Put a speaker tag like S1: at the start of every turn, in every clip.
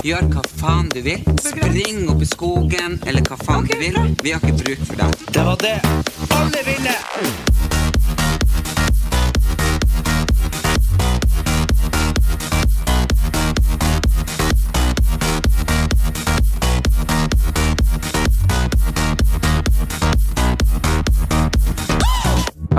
S1: Gjør hva faen du vil. Spring opp i skogen, eller hva faen du vil. Vi har ikke bruk for deg. Det var det alle ville!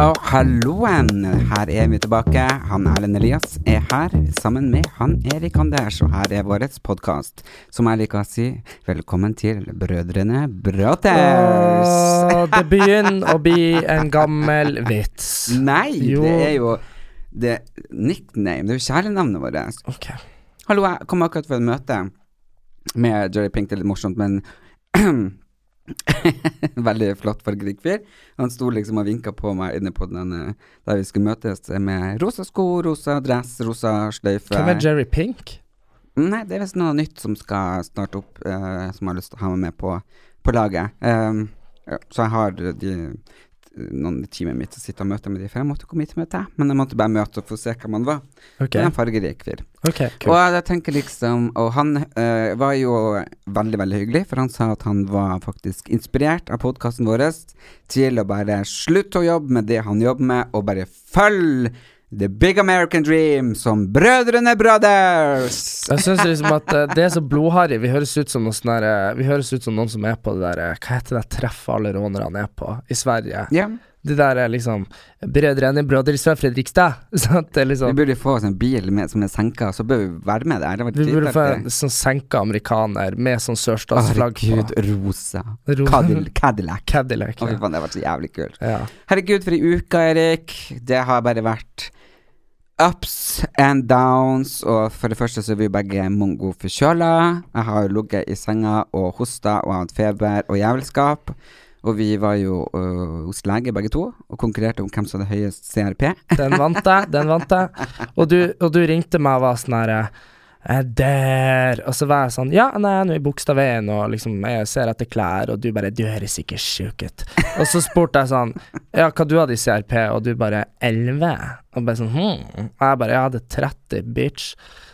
S1: Og halloen, her er vi tilbake. Han Erlend Elias er her sammen med han Erik Anders, og her er vår podkast, som jeg liker å si, velkommen til Brødrene Brothers.
S2: Åh, det begynner å bli en gammel vits.
S1: Nei,
S2: Jo.
S1: det er jo det nickname, det er jo kjælenavnet vårt.
S2: Ok.
S1: Hallo, jeg kom akkurat fra et møte med Jerry Pink. Det er litt morsomt, men Veldig flott, fargerik fyr. Han sto liksom og vinka på meg inne på den eh, der vi skulle møtes, eh, med rosa sko, rosa dress, rosa sløyfe.
S2: Hvem er Jerry Pink?
S1: Nei, det er visst noe nytt som skal starte opp, eh, som jeg har lyst til å ha meg med på, på laget. Ehm, ja, så jeg har de, noen timer mitt å sitte og møte med de, for jeg måtte komme hit til møte, jeg. men jeg måtte bare møte og få se hvem han var.
S2: Ok,
S1: Det er en fargerik fyr.
S2: ok,
S1: Og
S2: cool.
S1: jeg tenker liksom Og han eh, var jo veldig, veldig hyggelig, for han sa at han var faktisk inspirert av podkasten vår til å bare slutte å jobbe med det han jobber med, og bare følge The Big American Dream som Brødrene Brothers!
S2: Jeg syns liksom at eh, det er så blodharry. Vi høres ut som noen sånne der, eh, Vi høres ut som noen som er på det der eh, Hva heter det treffet alle rånerne er på i Sverige?
S1: Ja,
S2: Det der er liksom Brødrene Brothers fra Fredrikstad. Sant? Det
S1: vi
S2: er liksom
S1: burde få oss en bil med, som er senka, så bør vi være med der. Det var
S2: Vi burde få en sånn senka amerikaner med sånn sørstatsflagg på.
S1: Herregud, rosa
S2: Ro-
S1: Cadil- Cadillac.
S2: Cadillac.
S1: Å, fy
S2: Ja.
S1: faen, det har vært så jævlig kult.
S2: Ja.
S1: Herregud, for i uka, Erik, det har bare vært ups and downs. Og for det første så er vi begge mongo forkjøla. Jeg har ligget i senga og hosta og hatt feber og jævelskap. Og vi var jo øh, hos lege begge to og konkurrerte om hvem som hadde høyest CRP.
S2: Den vant jeg, den vant jeg. Og du, og du ringte meg og var sånn her eh, Der. Og så var jeg sånn Ja, nei, jeg er nå i Bogstadveien, og liksom, jeg ser etter klær, og du bare Du høres ikke sjuk ut. Og så spurte jeg sånn Ja, hva du hadde i CRP? Og du bare 11. Og bare sånn hm. Og jeg bare Jeg hadde 30, bitch.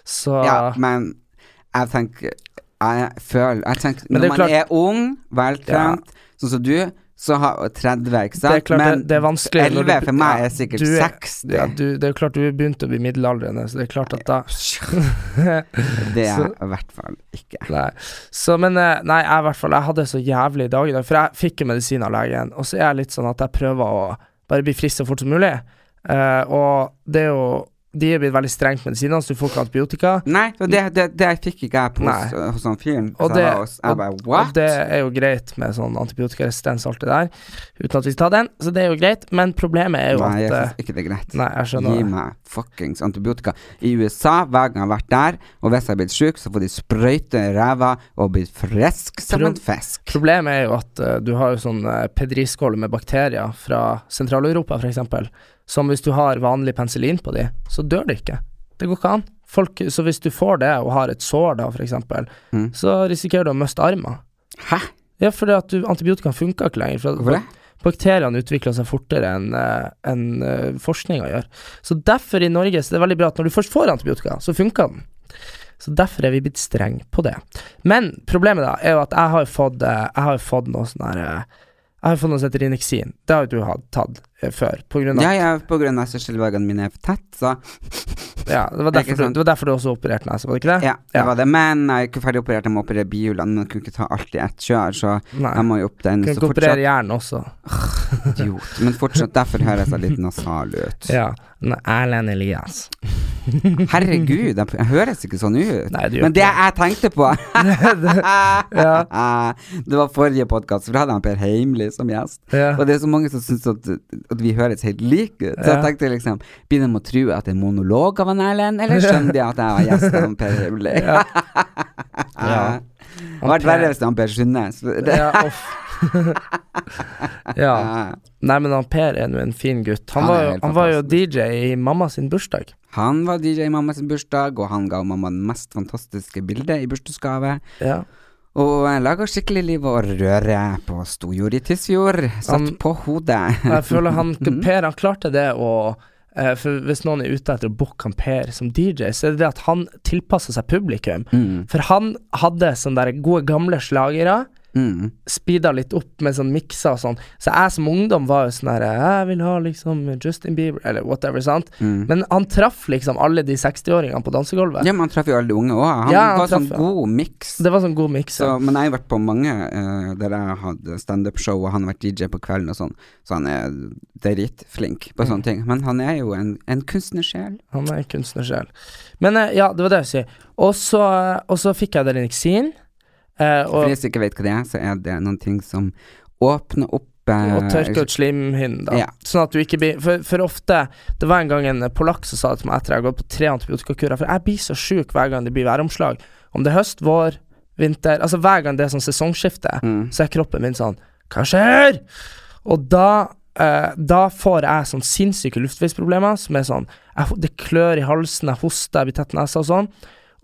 S2: Så
S1: Ja, men jeg tenker Jeg føler jeg tenker,
S2: Men
S1: Når
S2: det er
S1: man
S2: klart-
S1: er ung, veltrent, sånn som du, så har og 30, ikke sant?
S2: Det er klart
S1: men
S2: det, det er vanskelig når
S1: 11
S2: du-
S1: for meg
S2: ja,
S1: er sikkert
S2: du er-
S1: 60.
S2: Ja, du, det er jo klart du begynte å bli middelaldrende, så det er klart at da
S1: Det er jeg i hvert fall ikke.
S2: Nei. Så, men eh, nei, jeg i hvert fall Jeg hadde så jævlig dag i dag, for jeg fikk jo medisin av legen, og så er jeg litt sånn at jeg prøver å bare bli frisk så fort som mulig. Eh, og det er jo De er blitt veldig strengt med medisinene, så du får ikke antibiotika.
S1: Nei, for det, det, det fikk ikke jeg på hos,
S2: Nei.
S1: hos han fyren.
S2: Og
S1: så
S2: det,
S1: jeg var hos- jeg bare
S2: og, og
S1: what?
S2: det er jo greit med sånn antibiotikaresistens og alt det der, uten at vi skal ta den, så det er jo greit, men problemet er jo
S1: Nei, jeg
S2: at eh,
S1: syns ikke det er greit.
S2: Nei, jeg skjønner
S1: Gi
S2: det.
S1: meg fuckings antibiotika. I USA, hver gang jeg har vært der, og hvis jeg har blitt sjuk, så får de sprøyte i ræva og blir frisk som
S2: Pro-
S1: en fisk.
S2: Problemet er jo at eh, du har jo sånn eh, pedriskål med bakterier fra Sentral-Europa f.eks., som hvis du har vanlig penicillin på de, så dør det ikke. Det går ikke an. Folk, så hvis du får det og har et sår da, f.eks.,
S1: Mm.
S2: så risikerer du å miste armen.
S1: Hæ?
S2: Ja, fordi at du, antibiotika funker ikke lenger. For at
S1: Hvorfor det?
S2: Bakteriene utvikler seg fortere enn eh, enn, eh, forskninga gjør. Så derfor i Norge så er det veldig bra at når du først får antibiotika, så funker den. Så derfor er vi blitt strenge på det. Men problemet da er jo at jeg har jo fått, eh, jeg har jo fått noe sånn her eh, Jeg har jo fått noe som heter Rinexin. Det har jo du hatt tatt eh, før. På grunn av,
S1: Ja, ja, på grunn av skjellveggene mine er for tett, så
S2: ja, det,
S1: Ikke
S2: var derfor du,
S1: sant.
S2: det var derfor du også opererte nesa, var det ikke det?
S1: ja, det
S2: Ja.
S1: var det. Men jeg er ikke ferdig operert, jeg må operere bihulene, men jeg kunne ikke ta alt i ett kjør, så
S2: Nei.
S1: jeg må jo opp den.
S2: Kunne
S1: Så
S2: ikke operere
S1: fortsatt
S2: hjernen også.
S1: idiot. Men fortsatt, derfor høres jeg litt nasal ut.
S2: Ja. Nei, Erlend Elias.
S1: Herregud, jeg, jeg høres ikke sånn ut.
S2: Nei, du gjør
S1: Men det
S2: ikke
S1: jeg tenkte på Det var forrige podkast, for da hadde han Per Heimly som gjest.
S2: Ja.
S1: Og det er så mange som syns at, at vi høres helt like ut. Så jeg
S2: Ja.
S1: tenkte liksom Begynner de å tro at det er monolog av han Erlend, eller skjønner de at jeg var gjest av han Per Heimly?
S2: Ja. Ja.
S1: Det hadde vært verre hvis det var Per Sundnes. Det-
S2: Ja, off. ja. Nei, men han Per er nå en fin gutt. Han,
S1: Han
S2: var,
S1: er
S2: jo,
S1: helt
S2: han var jo DJ i mamma sin bursdag.
S1: Han var DJ i mammas bursdag, og han ga mamma det mest fantastiske bildet i bursdagsgave.
S2: Ja.
S1: Og laga skikkelig liv og røre på storjord i Tysfjord. Satt
S2: Han-
S1: på hodet.
S2: Jeg føler han
S1: Mhm.
S2: Per han klarte det å eh, For hvis noen er ute etter å booke han Per som DJ, så er det det at han tilpasser seg publikum.
S1: Mhm.
S2: For han hadde sånne der gode, gamle slagere.
S1: Mm.
S2: speeda litt opp med sånn mikser og sånn. Så jeg som ungdom var jo sånn her Jeg vil ha liksom Justin Bieber, eller whatever, sant.
S1: Mhm.
S2: Men han traff liksom alle de 60-åringene på dansegulvet.
S1: Ja, men han traff jo alle de unge òg. Han
S2: Ja, han
S1: var sånn
S2: traff, ja.
S1: god miks.
S2: Det var sånn god miks.
S1: Så, men jeg har vært på mange eh, der jeg hadde standup-show, og han har vært DJ på kvelden og sånn, så han er dritflink på
S2: Mm.
S1: sånne ting. Men han er jo en, en kunstnersjel.
S2: Han er en kunstnersjel. Men eh, ja, det var det jeg skulle si. Og så, eh, og så fikk jeg Delinexin. Eh,
S1: For
S2: og,
S1: de som ikke vet hva det er, så er det noen ting som åpner opp eh,
S2: og tørke ut slimhinnen, da.
S1: Ja.
S2: Sånn at du ikke blir for, for ofte Det var en gang en polakk som sa det til meg etter jeg har gått på tre antibiotikakurer, for jeg blir så sjuk hver gang det blir væromslag. Om det er høst, vår, vinter Altså hver gang det er sånn sesongskifte,
S1: Mm.
S2: så er kroppen min sånn Hva skjer? Og da eh, da får jeg sånn sinnssyke luftveisproblemer som er sånn jeg, ho- Det klør i halsen, jeg hoster, jeg blir tett i nesa og sånn.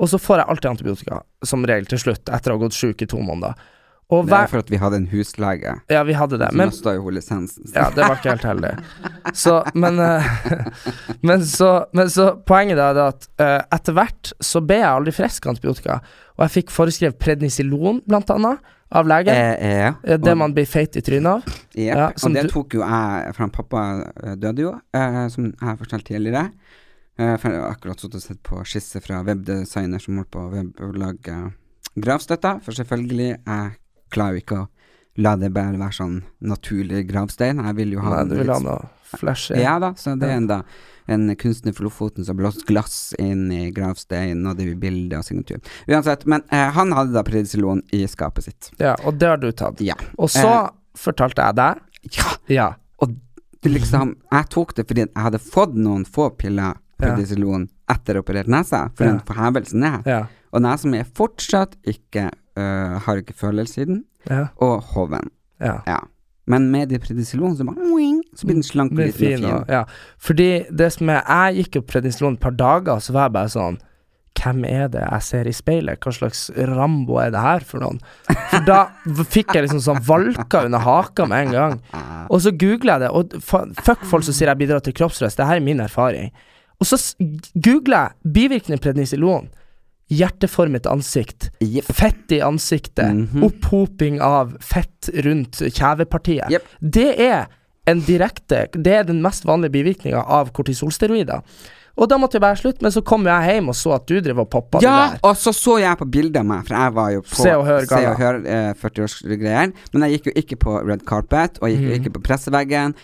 S2: Og så får jeg alltid antibiotika, som regel, til slutt, etter å ha gått sjuk i to måneder. Og
S1: Det er sånn
S2: hver,
S1: for at vi hadde en huslege.
S2: ja, vi hadde det.
S1: Som
S2: Men
S1: mista jo lisensen.
S2: ja, det var ikke helt heldig. Så, men, eh, men, så, men så poenget da er det at eh, etter hvert så ble jeg aldri frisk av antibiotika. Og jeg fikk foreskrevet prednisilon, blant annet, av legen.
S1: Eh,
S2: Eh,
S1: eh,
S2: det
S1: og-
S2: man blir feit i trynet av.
S1: Jep,
S2: Ja, som
S1: og det
S2: du-
S1: tok jo jeg For han pappa eh, døde jo, eh, som jeg har fortalt tidligere. Eh, for jeg har akkurat sittet og sett på skisse fra webdesigner som holdt på å web- å lage gravstøtter. For selvfølgelig, jeg klarer jo ikke å la det bare være sånn naturlig gravstein. Jeg vil jo ha
S2: Nei, du
S1: det
S2: vil
S1: litt
S2: ha noe flashy.
S1: ja da, så det
S2: Ja.
S1: er en, da, en kunstner fra Lofoten som blåste glass inn i gravsteinen, og det blir bilde og signatur. Uansett, men eh, han hadde da prednisolon i skapet sitt.
S2: Ja, og det har du tatt.
S1: Ja. Eh.
S2: Og så fortalte jeg deg
S1: ja.
S2: Ja.
S1: Og det liksom Jeg tok det fordi jeg hadde fått noen få piller
S2: Ja.
S1: prednisolon etter operert nese, for
S2: Ja.
S1: den forhevelsen er.
S2: Ja.
S1: Og nesa mi er fortsatt ikke øh, Har ikke følelse i den,
S2: Ja.
S1: og hoven.
S2: ja.
S1: Ja. Men med de prednisolon så, bare, oing, så blir den slank og
S2: Blir
S1: liten og
S2: fin
S1: fin.
S2: og Ja. Fordi det som er Jeg gikk jo prednisolon et par dager, så var jeg bare sånn hvem er det jeg ser i speilet? Hva slags Rambo er det her for noen? For da v- fikk jeg liksom sånn valka under haka med en gang. Og så googler jeg det, og fa- fuck folk som sier jeg bidrar til kroppspress, det her er min erfaring. Og så s- googler jeg bivirkning prednisolon. Hjerteformet ansikt.
S1: Jepp.
S2: Fett i ansiktet.
S1: Mhm.
S2: Opphoping av fett rundt kjevepartiet.
S1: Jepp.
S2: Det er en direkte Det er den mest vanlige bivirkninga av kortisolsteroider. Og da måtte jeg bare slutte, men så kom jeg hjem og så at du drev og poppa
S1: Ja,
S2: det der.
S1: og så så jeg på bildet av meg, for jeg var jo på
S2: Se og Hør-gala.
S1: Se og Hør, eh, 40-årsgreier. Men jeg gikk jo ikke på red carpet, og jeg
S2: Mhm.
S1: gikk jo ikke på presseveggen.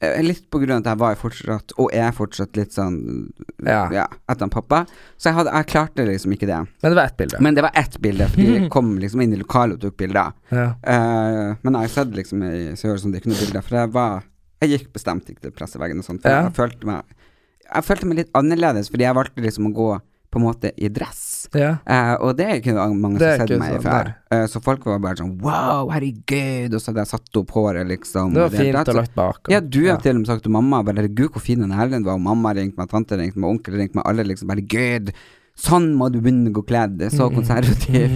S1: Eh, litt på grunn av at jeg var jo fortsatt, og er fortsatt litt sånn
S2: Ja.
S1: ja, etter han pappa. Så jeg, hadde, jeg klarte liksom ikke det.
S2: Men det var ett bilde.
S1: Men det var ett bilde, for de kom liksom inn i lokalet og tok bilder.
S2: Ja.
S1: Eh, men jeg har sett liksom i så høres det ut som det ikke noe bilder, for jeg var Jeg gikk bestemt ikke til presseveggen og sånt, for
S2: Ja.
S1: jeg følte meg Jeg følte meg litt annerledes, fordi jeg valgte liksom å gå på en måte i dress.
S2: Ja.
S1: Eh, og det er ikke mange
S2: Det
S1: som har
S2: er ikke
S1: sett meg
S2: sånn,
S1: før.
S2: nei.
S1: Eh, så folk var bare sånn Wow, herregud! Og så hadde jeg satt opp håret, liksom.
S2: Det var
S1: og hele
S2: fint
S1: tatt,
S2: og
S1: så-
S2: lagt bak. og-
S1: ja, du har til og med sagt til mamma bare, Herregud, hvor fin den Erlend var. Og mamma ringte meg, tante ringte meg, onkel ringte meg. Alle liksom bare Gud, sånn må du begynne å gå kledd. Det er så konservativ.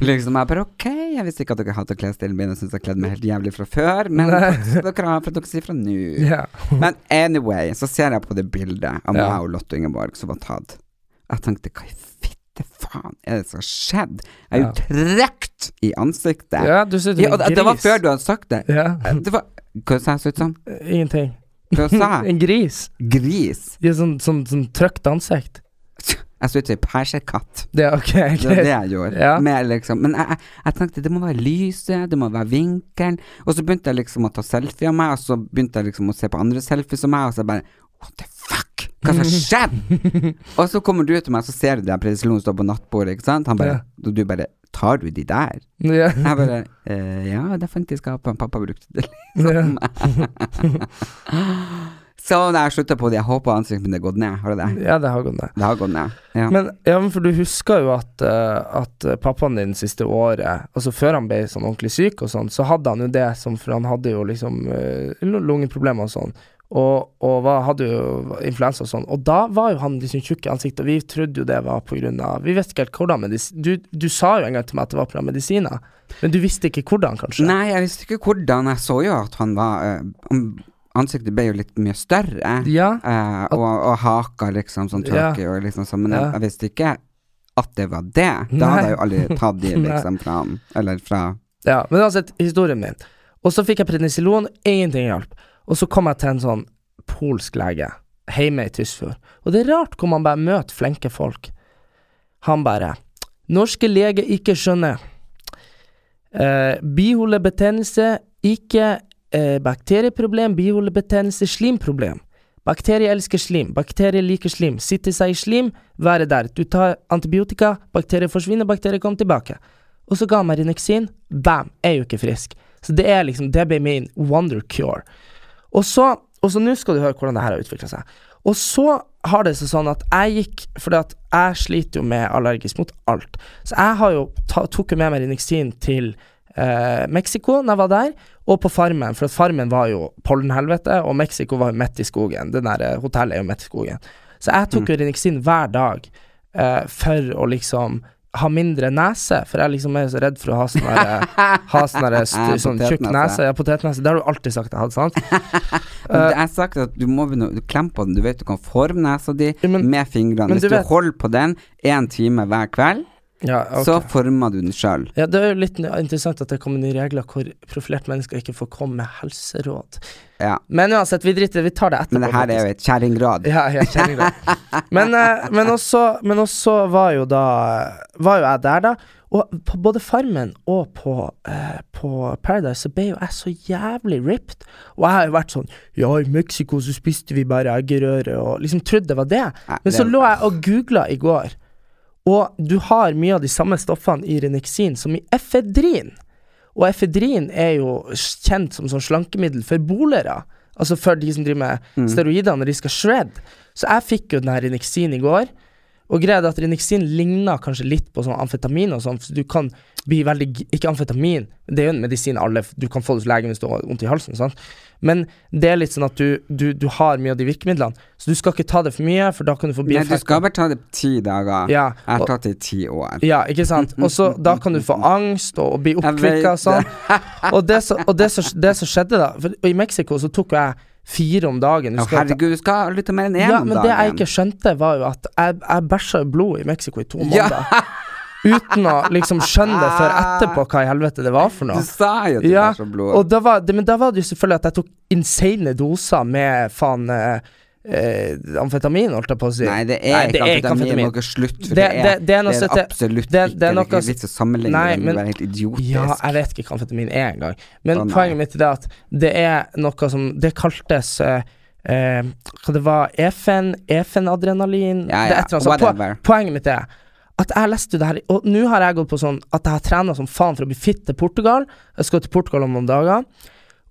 S1: liksom jeg bare Ok, jeg visste ikke at dere hadde klesstilen min. Jeg syns jeg kledde meg helt jævlig fra før. Men takk skal dere ha for at dere sier fra nå.
S2: Ja.
S1: Men anyway, så ser jeg på det bildet av
S2: Ja.
S1: meg og Lotte Ingeborg som var tatt. Jeg tenkte hva i fitte faen er det som har skjedd? Jeg er jo trukket i ansiktet.
S2: ja, du ser ut
S1: Ja,
S2: som
S1: og det,
S2: en
S1: det var
S2: gris.
S1: før du hadde sagt det.
S2: Ja.
S1: Det var Hva sa jeg så ut som?
S2: Ingenting.
S1: Hva sa jeg?
S2: En gris.
S1: Gris.
S2: I et sånn, sånn, sånn trøkt ansikt.
S1: Jeg så ut som ei persekatt.
S2: Det er ok,
S1: Det var det
S2: greit.
S1: jeg gjorde.
S2: Ja.
S1: Med liksom. Men jeg, jeg, jeg tenkte det må være lyset, det må være vinkelen. Og så begynte jeg liksom å ta selfie av meg, og så begynte jeg liksom å se på andre selfies av meg, og så bare What the fuck? Hva som har skjedd? og så kommer du til meg, så ser du det predislonen står på nattbordet, ikke sant? Han bare, Og du bare Tar du de der?
S2: Ja.
S1: Jeg bare eh, Ja, det fant jeg i skapet. Pappa brukte det.
S2: Ja.
S1: Så når jeg slutta på det, jeg håper ansiktet mitt har gått ned. Har det det?
S2: Ja, det har gått ned.
S1: Det har gått ned. Ja.
S2: Men, ja, men for du husker jo at, eh, at pappaen din siste året Altså før han ble sånn ordentlig syk og sånn, så hadde han jo det som For han hadde jo liksom eh, lu- lungeproblemer og sånn. Og, og var, hadde jo influensa og sånn. Og da var jo han liksom tjukk i ansiktet, og vi trodde jo det var på grunn av Vi vet ikke helt hvordan medis... Du, du sa jo en gang til meg at det var pga. medisiner, men du visste ikke hvordan, kanskje?
S1: Nei, jeg visste ikke hvordan. Jeg så jo at han var eh, om- Ansiktet ble jo litt mye større.
S2: Ja.
S1: eh, og, og haka liksom sånn
S2: Ja.
S1: turkey og liksom sånn. Men jeg,
S2: Ja.
S1: jeg visste ikke at det var det. Da
S2: Nei.
S1: hadde jeg jo aldri tatt de
S2: Nei.
S1: liksom fra han. Eller fra
S2: Ja, men uansett, historien min. Og så fikk jeg prednisolon, ingenting hjalp. Og så kom jeg til en sånn polsk lege hjemme i Tysfjord. Og det er rart hvor man bare møter flinke folk. Han bare Norske leger ikke skjønner. Eh, biholebetennelse, ikke eh, bakterieproblem, biholebetennelse, slimproblem. Bakterier elsker slim, bakterier liker slim. Sitte seg i slim, være der. Du tar antibiotika, bakterier forsvinner, bakterier kommer tilbake. Og så ga han meg Rinexin, bam, er jo ikke frisk. Så det er liksom, det ble min wonder cure. Og så, og så nå skal du høre hvordan det her har utvikla seg. Og så har det seg sånn at jeg gikk Fordi at jeg sliter jo med allergisk mot alt. Så jeg har jo ta, tok jo med meg Rinexin til eh, Mexico når jeg var der, og på Farmen, for at Farmen var jo pollenhelvete, og Mexico var jo midt i skogen. Det der eh, hotellet er jo midt i skogen. Så jeg tok jo Rinexin hver dag eh, for å liksom ha mindre nese, for jeg liksom er så redd for å ha sånn der- Ha sånn der st- sånn tjukk
S1: Potetnese.
S2: nese. Ja, potetnese. Det har du alltid sagt jeg hadde, sant? Eh.
S1: Jeg har sagt at du må begynne å klemme på den. Du vet du kan forme nesa di
S2: Ja, men-
S1: med fingrene.
S2: men
S1: Hvis
S2: du
S1: du,
S2: vet-
S1: holder på den én time hver kveld,
S2: Ja, ok.
S1: så former du den sjøl.
S2: ja, det er jo litt interessant at det kommer nye regler hvor profilerte mennesker ikke får komme med helseråd.
S1: Ja.
S2: Men uansett, vi driter i det. Vi tar det etterpå.
S1: Men det her er jo et kjerringråd.
S2: Ja, jeg kjenner det. Men, eh, men, også, men også var jo da Var jo jeg der, da. Og på både Farmen og på, eh, på Paradise så ble jo jeg så jævlig ripped. Og jeg har jo vært sånn Ja, i Mexico så spiste vi bare eggerøre, og liksom trodde det var det.
S1: Nei,
S2: Men så
S1: det-
S2: lå jeg og googla i går, og du har mye av de samme stoffene i Renexin som i efedrin. Og efedrin er jo kjent som sånn slankemiddel for bolere. Altså for de som driver
S1: Mm.
S2: med steroider når de skal shred. Så jeg fikk jo den her Rinexin i går. Og greia er at Rinexin ligner kanskje litt på sånn amfetamin og sånn. for Du kan bli veldig g- Ikke amfetamin, det er jo en medisin alle f- Du kan få det hos legen hvis du har vondt i halsen. Sant? Men det er litt sånn at du, du, du har mye av de virkemidlene. Så du skal ikke ta det for mye, for da kan du få
S1: Nei, du
S2: bieffekter.
S1: skal bare ta det på ti dager.
S2: Ja,
S1: jeg har
S2: og-
S1: tatt det i ti år.
S2: Ja, ikke sant? Og så da kan du få angst og, og bli oppkvikka og sånn. Og det som og det som- det som skjedde, da for, Og i Mexico så tok jo jeg fire om dagen.
S1: Å,
S2: Husker jeg at-
S1: herregud, du skal lytte mer enn én
S2: ja,
S1: om
S2: men
S1: dagen.
S2: det jeg ikke skjønte, var jo at jeg, jeg bæsja i blod i Mexico i to
S1: Ja.
S2: måneder. Uten å liksom skjønne det før etterpå hva i helvete det var for noe.
S1: Du sa jo at det
S2: Ja,
S1: var så blod.
S2: og da var, det, men da var det jo selvfølgelig at jeg tok insane doser med faen eh, eh, amfetamin, holdt jeg på å si.
S1: Nei, det er ikke amfetamin. Dere slutt, for det, er, det, er,
S2: støtte-
S1: absolutt
S2: det- det er noe
S1: ikke
S2: s-
S1: det er vits å sammenligne
S2: Nei,
S1: det
S2: men-
S1: med helt idiotisk.
S2: Ja, jeg vet ikke hva amfetamin er engang. Men
S1: Å, nei.
S2: poenget mitt er at det er noe som Det kaltes eh, eh, Hva det var Efen? Efenadrenalin?
S1: Ja,
S2: Det er
S1: ja,
S2: et eller annet sånt.
S1: whatever.
S2: Po- Poenget mitt er at jeg leste jo det her Og nå har jeg gått på sånn at jeg har trena som faen for å bli fit til Portugal. Jeg skal til Portugal om noen dager.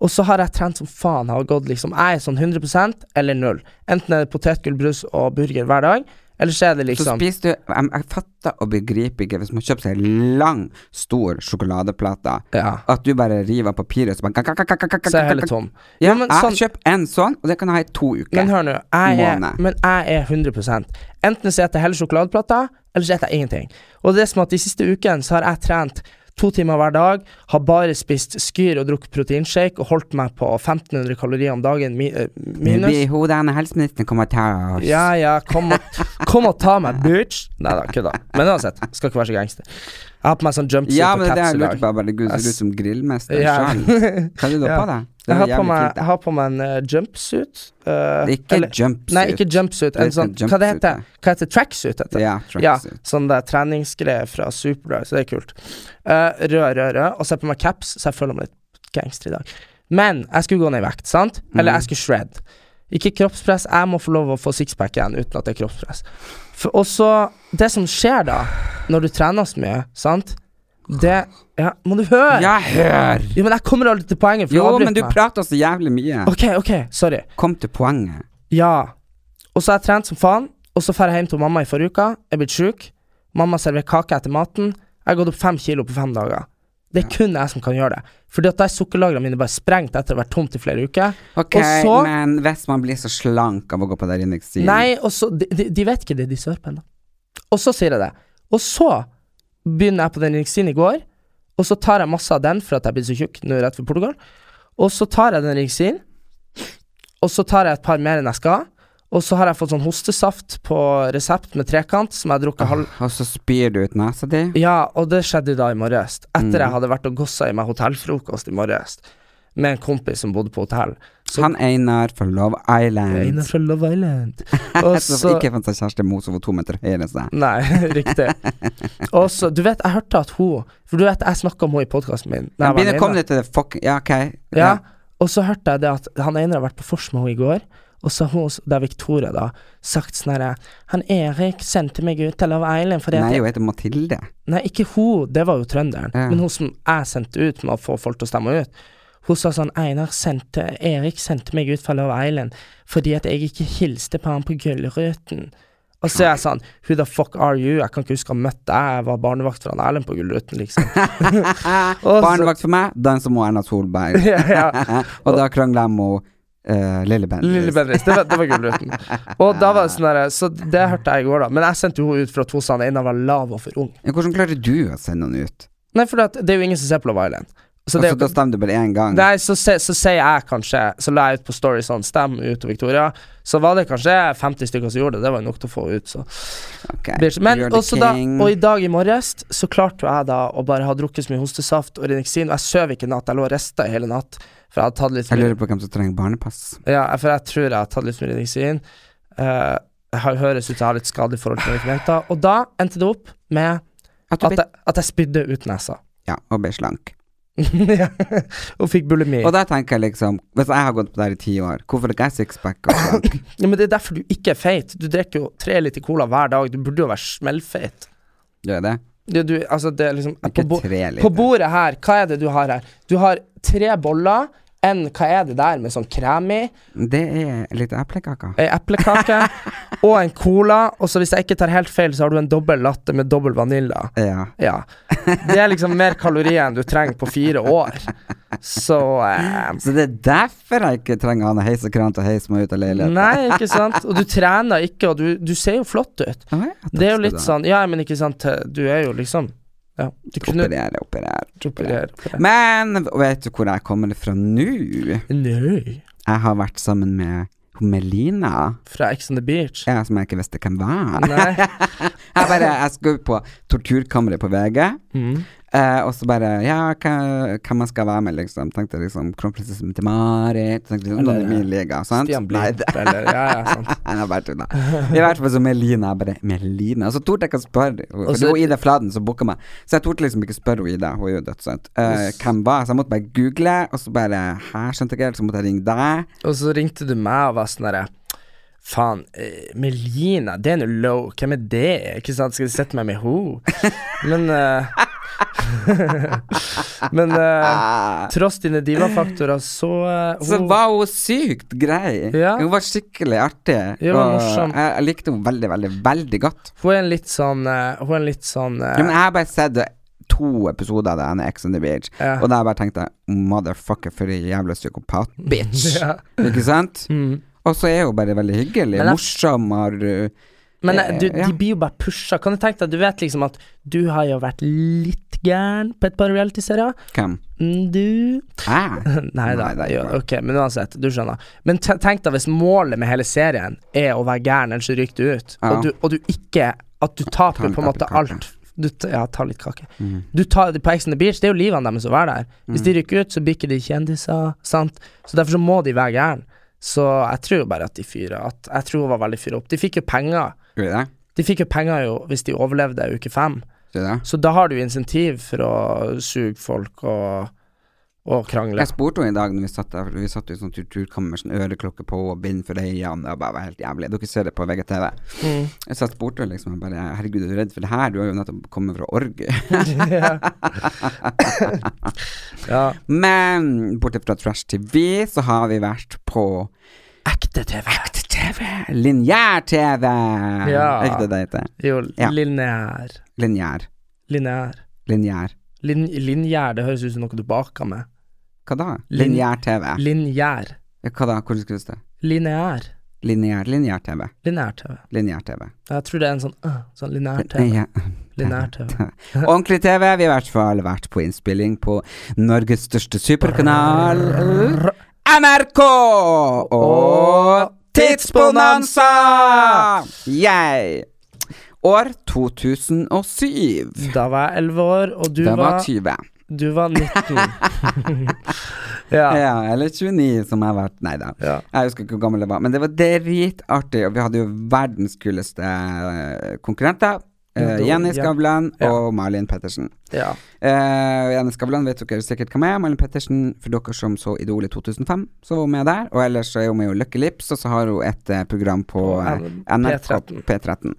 S2: Og så har jeg trent som faen. Har gått liksom Jeg er sånn 100 eller null. Enten er det potetgull, brus og burger hver dag, eller så er det
S1: Så
S2: liksom
S1: spiser du Jeg, jeg fatter og begriper ikke hvis man kjøper seg en lang, stor sjokoladeplate,
S2: Ja.
S1: at du bare river av papiret og så bare kak, kak, kak, kak, kak,
S2: Så er jeg
S1: kak,
S2: heller
S1: kak.
S2: tom.
S1: Ja,
S2: men
S1: jeg
S2: sånn-
S1: kjøper en sånn, og det kan jeg ha i to uker.
S2: Men hør nå, jeg er,
S1: Måned.
S2: men jeg er 100 Enten så spiser jeg hele sjokoladeplata, eller så spiser jeg ingenting. Og det er som at de siste ukene så har jeg trent to timer hver dag, har bare spist skyr og drukket proteinshake og holdt meg på 1500 kalorier om dagen mi, eh,
S1: Nå blir
S2: minus.
S1: hodene helseministeren kommer til oss.
S2: Ja, ja, kom og, kom og ta meg, bitch! Nei da, kødda. Men uansett, skal ikke være så gangster. Jeg har på meg sånn jumpsuit
S1: Ja,
S2: og
S1: men det
S2: caps
S1: er
S2: i
S1: lurt
S2: dag.
S1: på. Herregud, ser ut som grillmester
S2: Ja.
S1: selv. Hva er det du har
S2: Ja.
S1: på deg?
S2: Jeg
S1: Det var
S2: har på
S1: jævlig
S2: meg,
S1: fint.
S2: jeg har på meg en eh, jumpsuit.
S1: da.
S2: eh,
S1: Ikke
S2: eller-
S1: jumpsuit.
S2: Nei, ikke jumpsuit. En
S1: Det heter
S2: sånn, hva det heter
S1: jumpsuit,
S2: Hva heter tracksuit? Heter det.
S1: Ja,
S2: Ja,
S1: tracksuit.
S2: sånn der treningsgreier fra Superbra, så det er kult. Eh, rød, rød, rød. Og så har jeg på meg caps, så jeg føler meg litt gangster i dag. Men jeg skulle gå ned i vekt, sant?
S1: Mm.
S2: Eller jeg skulle shred. Ikke kroppspress. Jeg må få lov å få sixpack igjen uten at det er kroppspress. For, og så Det som skjer da, når du trener så mye, sant Det Ja, må du høre?
S1: Ja, hør!
S2: Jo, men jeg kommer aldri til poenget. For
S1: Jo,
S2: avbryter
S1: men du
S2: meg.
S1: prater så jævlig mye.
S2: OK, OK, sorry.
S1: Kom til poenget.
S2: Ja. Og så har jeg trent som faen, og så drar jeg hjem til mamma i forrige uke. Jeg er blitt sjuk. Mamma serverer kake etter maten. Jeg har gått opp fem kilo på fem dager. Det er kun jeg som kan gjøre det. Fordi at da er sukkerlagrene mine bare sprengt etter å ha vært tomt i flere uker.
S1: Ok,
S2: Og så
S1: men hvis man blir så slank av å gå på der inne
S2: Nei, og så de, de, de vet ikke det, de sørpene. Og så sier jeg det. Og så begynner jeg på den Ringstien i går, og så tar jeg masse av den for at jeg blir så tjukk nå rett før Portugal. Og så tar jeg den Ringstien, og så tar jeg et par mer enn jeg skal. Og så har jeg fått sånn hostesaft på resept med trekant, som jeg har drukket halv...
S1: Og så spyr du ut nesa di.
S2: Ja, og det skjedde da i morges. Etter
S1: Mm.
S2: jeg hadde vært og gossa i meg hotellfrokost i morges med en kompis som bodde på hotell. Så
S1: Han Einar fra Love
S2: Jeg er
S1: Island.
S2: inne fra Love Island. Og
S1: Som ikke fant seg kjæreste mot som var to meter høyere enn seg.
S2: Nei, riktig. Og så, du vet, jeg hørte at hun For du vet, jeg snakka om henne i podkasten min.
S1: Men
S2: da jeg var
S1: Begynner å
S2: alene.
S1: komme deg til det fuck... Ja, ok.
S2: ja. Og så hørte jeg det at han ene har vært på vors med henne i går, og så har hun, det er Victoria, da, sagt sånn herre Han Erik sendte meg ut til Love Island fordi at
S1: Nei,
S2: jeg-
S1: hun heter Mathilde.
S2: Nei, ikke hun, det var jo trønderen.
S1: Ja.
S2: Men hun som jeg sendte ut med å få folk til å stemme ut. Hun sa sånn Einar sendte Erik sendte meg ut fra Love Island fordi at jeg ikke hilste på han på Gullruten. Og så er jeg sånn Who the fuck are you? Jeg kan ikke huske å ha møtt deg. Jeg var barnevakt for han Erlend på Gullruten, liksom. Og så-
S1: Barnevakt for meg, danser med Erna Solberg. Eh,
S2: ja, ja.
S1: Og da krangler jeg med uh, Lille Bendriss.
S2: Lille Bendriss. Det var, det var Gullruten. Og da var det sånn der, Så det hørte jeg i går, da. Men jeg sendte jo henne ut for at hun sa at Einar var lav og for ung.
S1: Ja, Hvordan klarer du å sende noen ut?
S2: Nei, for det er jo ingen som ser på Love Island. Så
S1: Og
S2: det er
S1: så
S2: jo
S1: da stemmer du bare én gang?
S2: Nei, så, se, så sier jeg kanskje Så la jeg ut på story sånn Stem ut og Victoria Så var det kanskje 50 stykker som gjorde det Det var jo nok til å få ut så.
S1: Ok,
S2: Bitch. Men
S1: you're the
S2: også da
S1: king.
S2: Og i dag i morges Så klarte jo jeg da Å bare ha drukket så mye hostesaft Og renixin Og jeg søv ikke i natt Jeg lå og resta i hele natt For jeg hadde tatt litt for
S1: Jeg
S2: mye
S1: lurer på hvem som trenger barnepass.
S2: Ja, for jeg tror jeg har tatt litt for mye renixin Eh, Jeg har- høres ut som jeg har litt skadeforhold til medikamenter Og da endte det opp med
S1: At du
S2: At
S1: ble,
S2: jeg, at jeg spydde ut nesa
S1: ja, og ble slank.
S2: Ja. Og fikk bulimi
S1: Og da tenker jeg liksom Hvis jeg har gått på der i ti år, hvorfor er ikke jeg sixpack og slank?
S2: Ja, men Det er derfor du ikke er feit. Du drikker jo tre liter cola hver dag. Du burde jo være smellfeit.
S1: Gjør jeg det?
S2: Du, du, altså, det er liksom, på,
S1: Ikke
S2: bo
S1: tre
S2: på
S1: liter.
S2: bordet her, hva er det du har her? Du har tre boller. En, hva er det der med sånn krem i?
S1: Det er litt eplekaker.
S2: Ei eplekake og en cola. Og så hvis jeg ikke tar helt feil, så har du en dobbel latte med dobbel vanilla.
S1: Ja.
S2: Ja. Det er liksom mer kalorier enn du trenger på fire år. Så eh,
S1: Så det er derfor jeg ikke trenger han heisekran til å heise meg ut av leiligheten.
S2: Nei, ikke sant? Og du trener ikke, og du, du ser jo flott ut.
S1: Å, ja, takk
S2: Det er jo
S1: skal
S2: litt
S1: du ha.
S2: sånn Ja, men ikke sant, du er jo liksom ja, Du kunne
S1: Operere, operere.
S2: operere på det.
S1: Men vet du hvor jeg kommer fra nå?
S2: Nei.
S1: Jeg har vært sammen med Melina.
S2: Fra Ex on the Beach.
S1: Ja, som jeg ikke visste hvem var.
S2: Nei.
S1: Jeg bare, jeg skulle på torturkammeret på VG,
S2: Mm.
S1: eh, og så bare Ja, hva, hvem jeg skal være med, liksom? Tenkte liksom kronprinsessen til Marit. Tenkte liksom noen i min liga, sant?
S2: eh, Stian
S1: Nei,
S2: Blipp,
S1: det-
S2: eller Ja, ja, sant.
S1: Nei, jeg bare tulla. I hvert fall så Melina. Jeg bare Melina. Og så torde jeg ikke å spørre henne,
S2: Og
S1: for
S2: så-
S1: det var Ida Fladen som booka meg. Så jeg torde liksom ikke spørre henne, Ida. Hun er jo dødssøt. Eh, hvem var jeg? Så jeg måtte bare google, og så bare Her skjønte jeg ikke helt, så måtte jeg ringe deg.
S2: Og så ringte du meg og var sånn derre Faen, eh, Melina, det er noe low. Hvem er det? Ikke sant? Skal du sette meg med ho? Men eh, Men eh, tross dine divafaktorer, så eh,
S1: Så
S2: hun-
S1: var hun sykt grei.
S2: Ja.
S1: Hun var skikkelig artig.
S2: Ja, hun var
S1: og
S2: morsom.
S1: jeg, jeg likte henne veldig, veldig, veldig godt.
S2: Hun er en litt sånn eh, Hun er en litt sånn eh,
S1: Ja, men jeg har bare sett to episoder av denne Ex on the Beach,
S2: Ja.
S1: og da har jeg bare tenkt jeg, Motherfucker, for en jævla psykopat. Bitch.
S2: Ja. Mm.
S1: Ikke sant? Og så er hun bare veldig hyggelig.
S2: Men jeg-
S1: morsom og uh,
S2: Men
S1: Eh,
S2: eh, du,
S1: ja.
S2: de blir jo bare pusha. Kan du tenke deg, du vet liksom at du har jo vært litt gæren på et par realityserier.
S1: Hvem?
S2: Mm, Du
S1: Jeg?
S2: Nei da.
S1: det er
S2: jo,
S1: ikke bra.
S2: ok, men uansett, du skjønner. Men te- tenk deg hvis målet med hele serien er å være gæren, ellers så ryker du ut.
S1: Ja.
S2: Og, du, og du ikke At du taper
S1: litt Mm.
S2: på en måte
S1: kake.
S2: alt. Du, t- ja, ta litt kake. Du tar det På Ex on the Beach, det er jo livene deres å være der. Hvis
S1: Mm.
S2: de rykker ut, så blir ikke de kjendiser, sant. Så derfor så må de være gæren. Så jeg tror jo bare at de fyrer at Jeg tror hun var veldig fyra opp. De fikk jo penger.
S1: Gjør vi det?
S2: De fikk jo penger jo hvis de overlevde uke fem,
S1: Gjør vi det?
S2: så da har du insentiv for å suge folk og og krangle.
S1: Jeg spurte henne i dag når vi satt der, for vi satt jo i sånn turturkammer med sånn øreklokke på og bind for øynene. Det bare var helt jævlig. Dere ser det på VGTV.
S2: Mm.
S1: Jeg satt spurte henne liksom, jeg bare herregud, er du redd for det her? Du har jo nettopp kommet fra orgie.
S2: Ja.
S1: Men bortsett fra Trash TV, så har vi vært på
S2: Ekte TV.
S1: TV! Lineær-TV!
S2: Ja.
S1: Er ikke det det heter?
S2: Jo,
S1: Ja.
S2: lineær.
S1: Lineær.
S2: Lineær.
S1: Lineær.
S2: Lin linjær, det høres ut som noe du baker med.
S1: Hva da?
S2: Lin-
S1: Lineær-TV.
S2: Linjær.
S1: Hva da? Hvordan skrives det?
S2: Lineær.
S1: Lineær. Lineær-TV.
S2: Lineær-TV.
S1: Lineær-TV.
S2: Jeg tror det er en sånn øh, sånn lineær-TV.
S1: Ja.
S2: Lineær-TV.
S1: Ordentlig TV. Vi har i hvert fall vært på innspilling på Norges største superkanal, NRK! Og Tidsbonanza! Yay! År 2007.
S2: Da var jeg 11 år, og du
S1: Det var
S2: var,
S1: 20.
S2: du var 19. ja.
S1: Ja, eller 29, som jeg har vært. Nei da.
S2: Ja.
S1: Jeg husker ikke hvor gammel jeg var. Men det var dritartig, og vi hadde jo verdens kuleste eh, konkurrenter. Eh,
S2: Ja, det-
S1: Jenny
S2: ja.
S1: Skavlan
S2: Ja.
S1: og Malin Pettersen.
S2: ja.
S1: Eh, Janne Skavlan vet dere sikkert hvem er. Malin Pettersen, for dere som så Idol i 2005, så var hun med der. Og ellers så er hun med i Lucky Lips, og så har hun et eh, program på
S2: På
S1: eh,
S2: N-
S1: NRK
S2: P13. Mm.
S1: P13.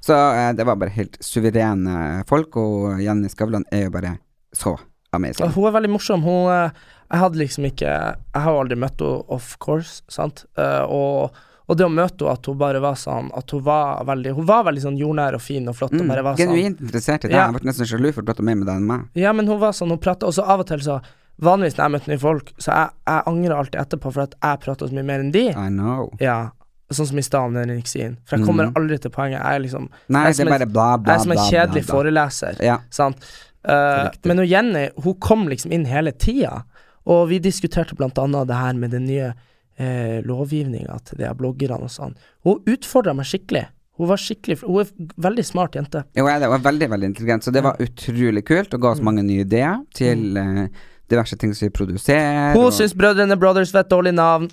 S1: Så eh, det var bare helt suverene folk, og Jenny Skavlan er jo bare så
S2: Og
S1: amazing.
S2: Hun er veldig morsom. Hun eh, Jeg hadde liksom ikke Jeg har jo aldri møtt henne, of course, sant. Eh, og, og det å møte henne, at hun bare var sånn At hun var veldig Hun var veldig sånn jordnær og fin og flott, og bare
S1: Mm,
S2: var sånn
S1: genuint interessert i det.
S2: Ja.
S1: Jeg ble nesten sjalu for å prate mer med deg enn meg.
S2: Ja, men hun var sånn, hun prata Og så av og til så Vanligvis når jeg møter nye folk, så jeg, jeg angrer alltid etterpå for at jeg prater så mye mer enn de.
S1: I know.
S2: Ja. Sånn som i stad med den riksin. For jeg kommer aldri til poenget. Jeg er liksom
S1: Mhm. Nei,
S2: jeg er
S1: det
S2: som
S1: er
S2: en-
S1: bare bla, bla,
S2: Jeg er som en
S1: bla, bla,
S2: kjedelig
S1: bla.
S2: foreleser.
S1: Ja.
S2: Sant? Eh,
S1: Riktig.
S2: men hun Jenny hun kom liksom inn hele tida, og vi diskuterte blant annet det her med den nye uh, lovgivninga til de her bloggerne og sånn. Hun utfordra meg skikkelig. Hun var skikkelig Hun er en veldig smart jente.
S1: Jo, jeg, det var veldig, veldig intelligent, så det var utrolig kult, og ga
S2: Mm.
S1: oss mange nye ideer til eh, diverse ting som vi produserer.
S2: Hun
S1: og-
S2: syns Brødrene Brothers var et dårlig navn.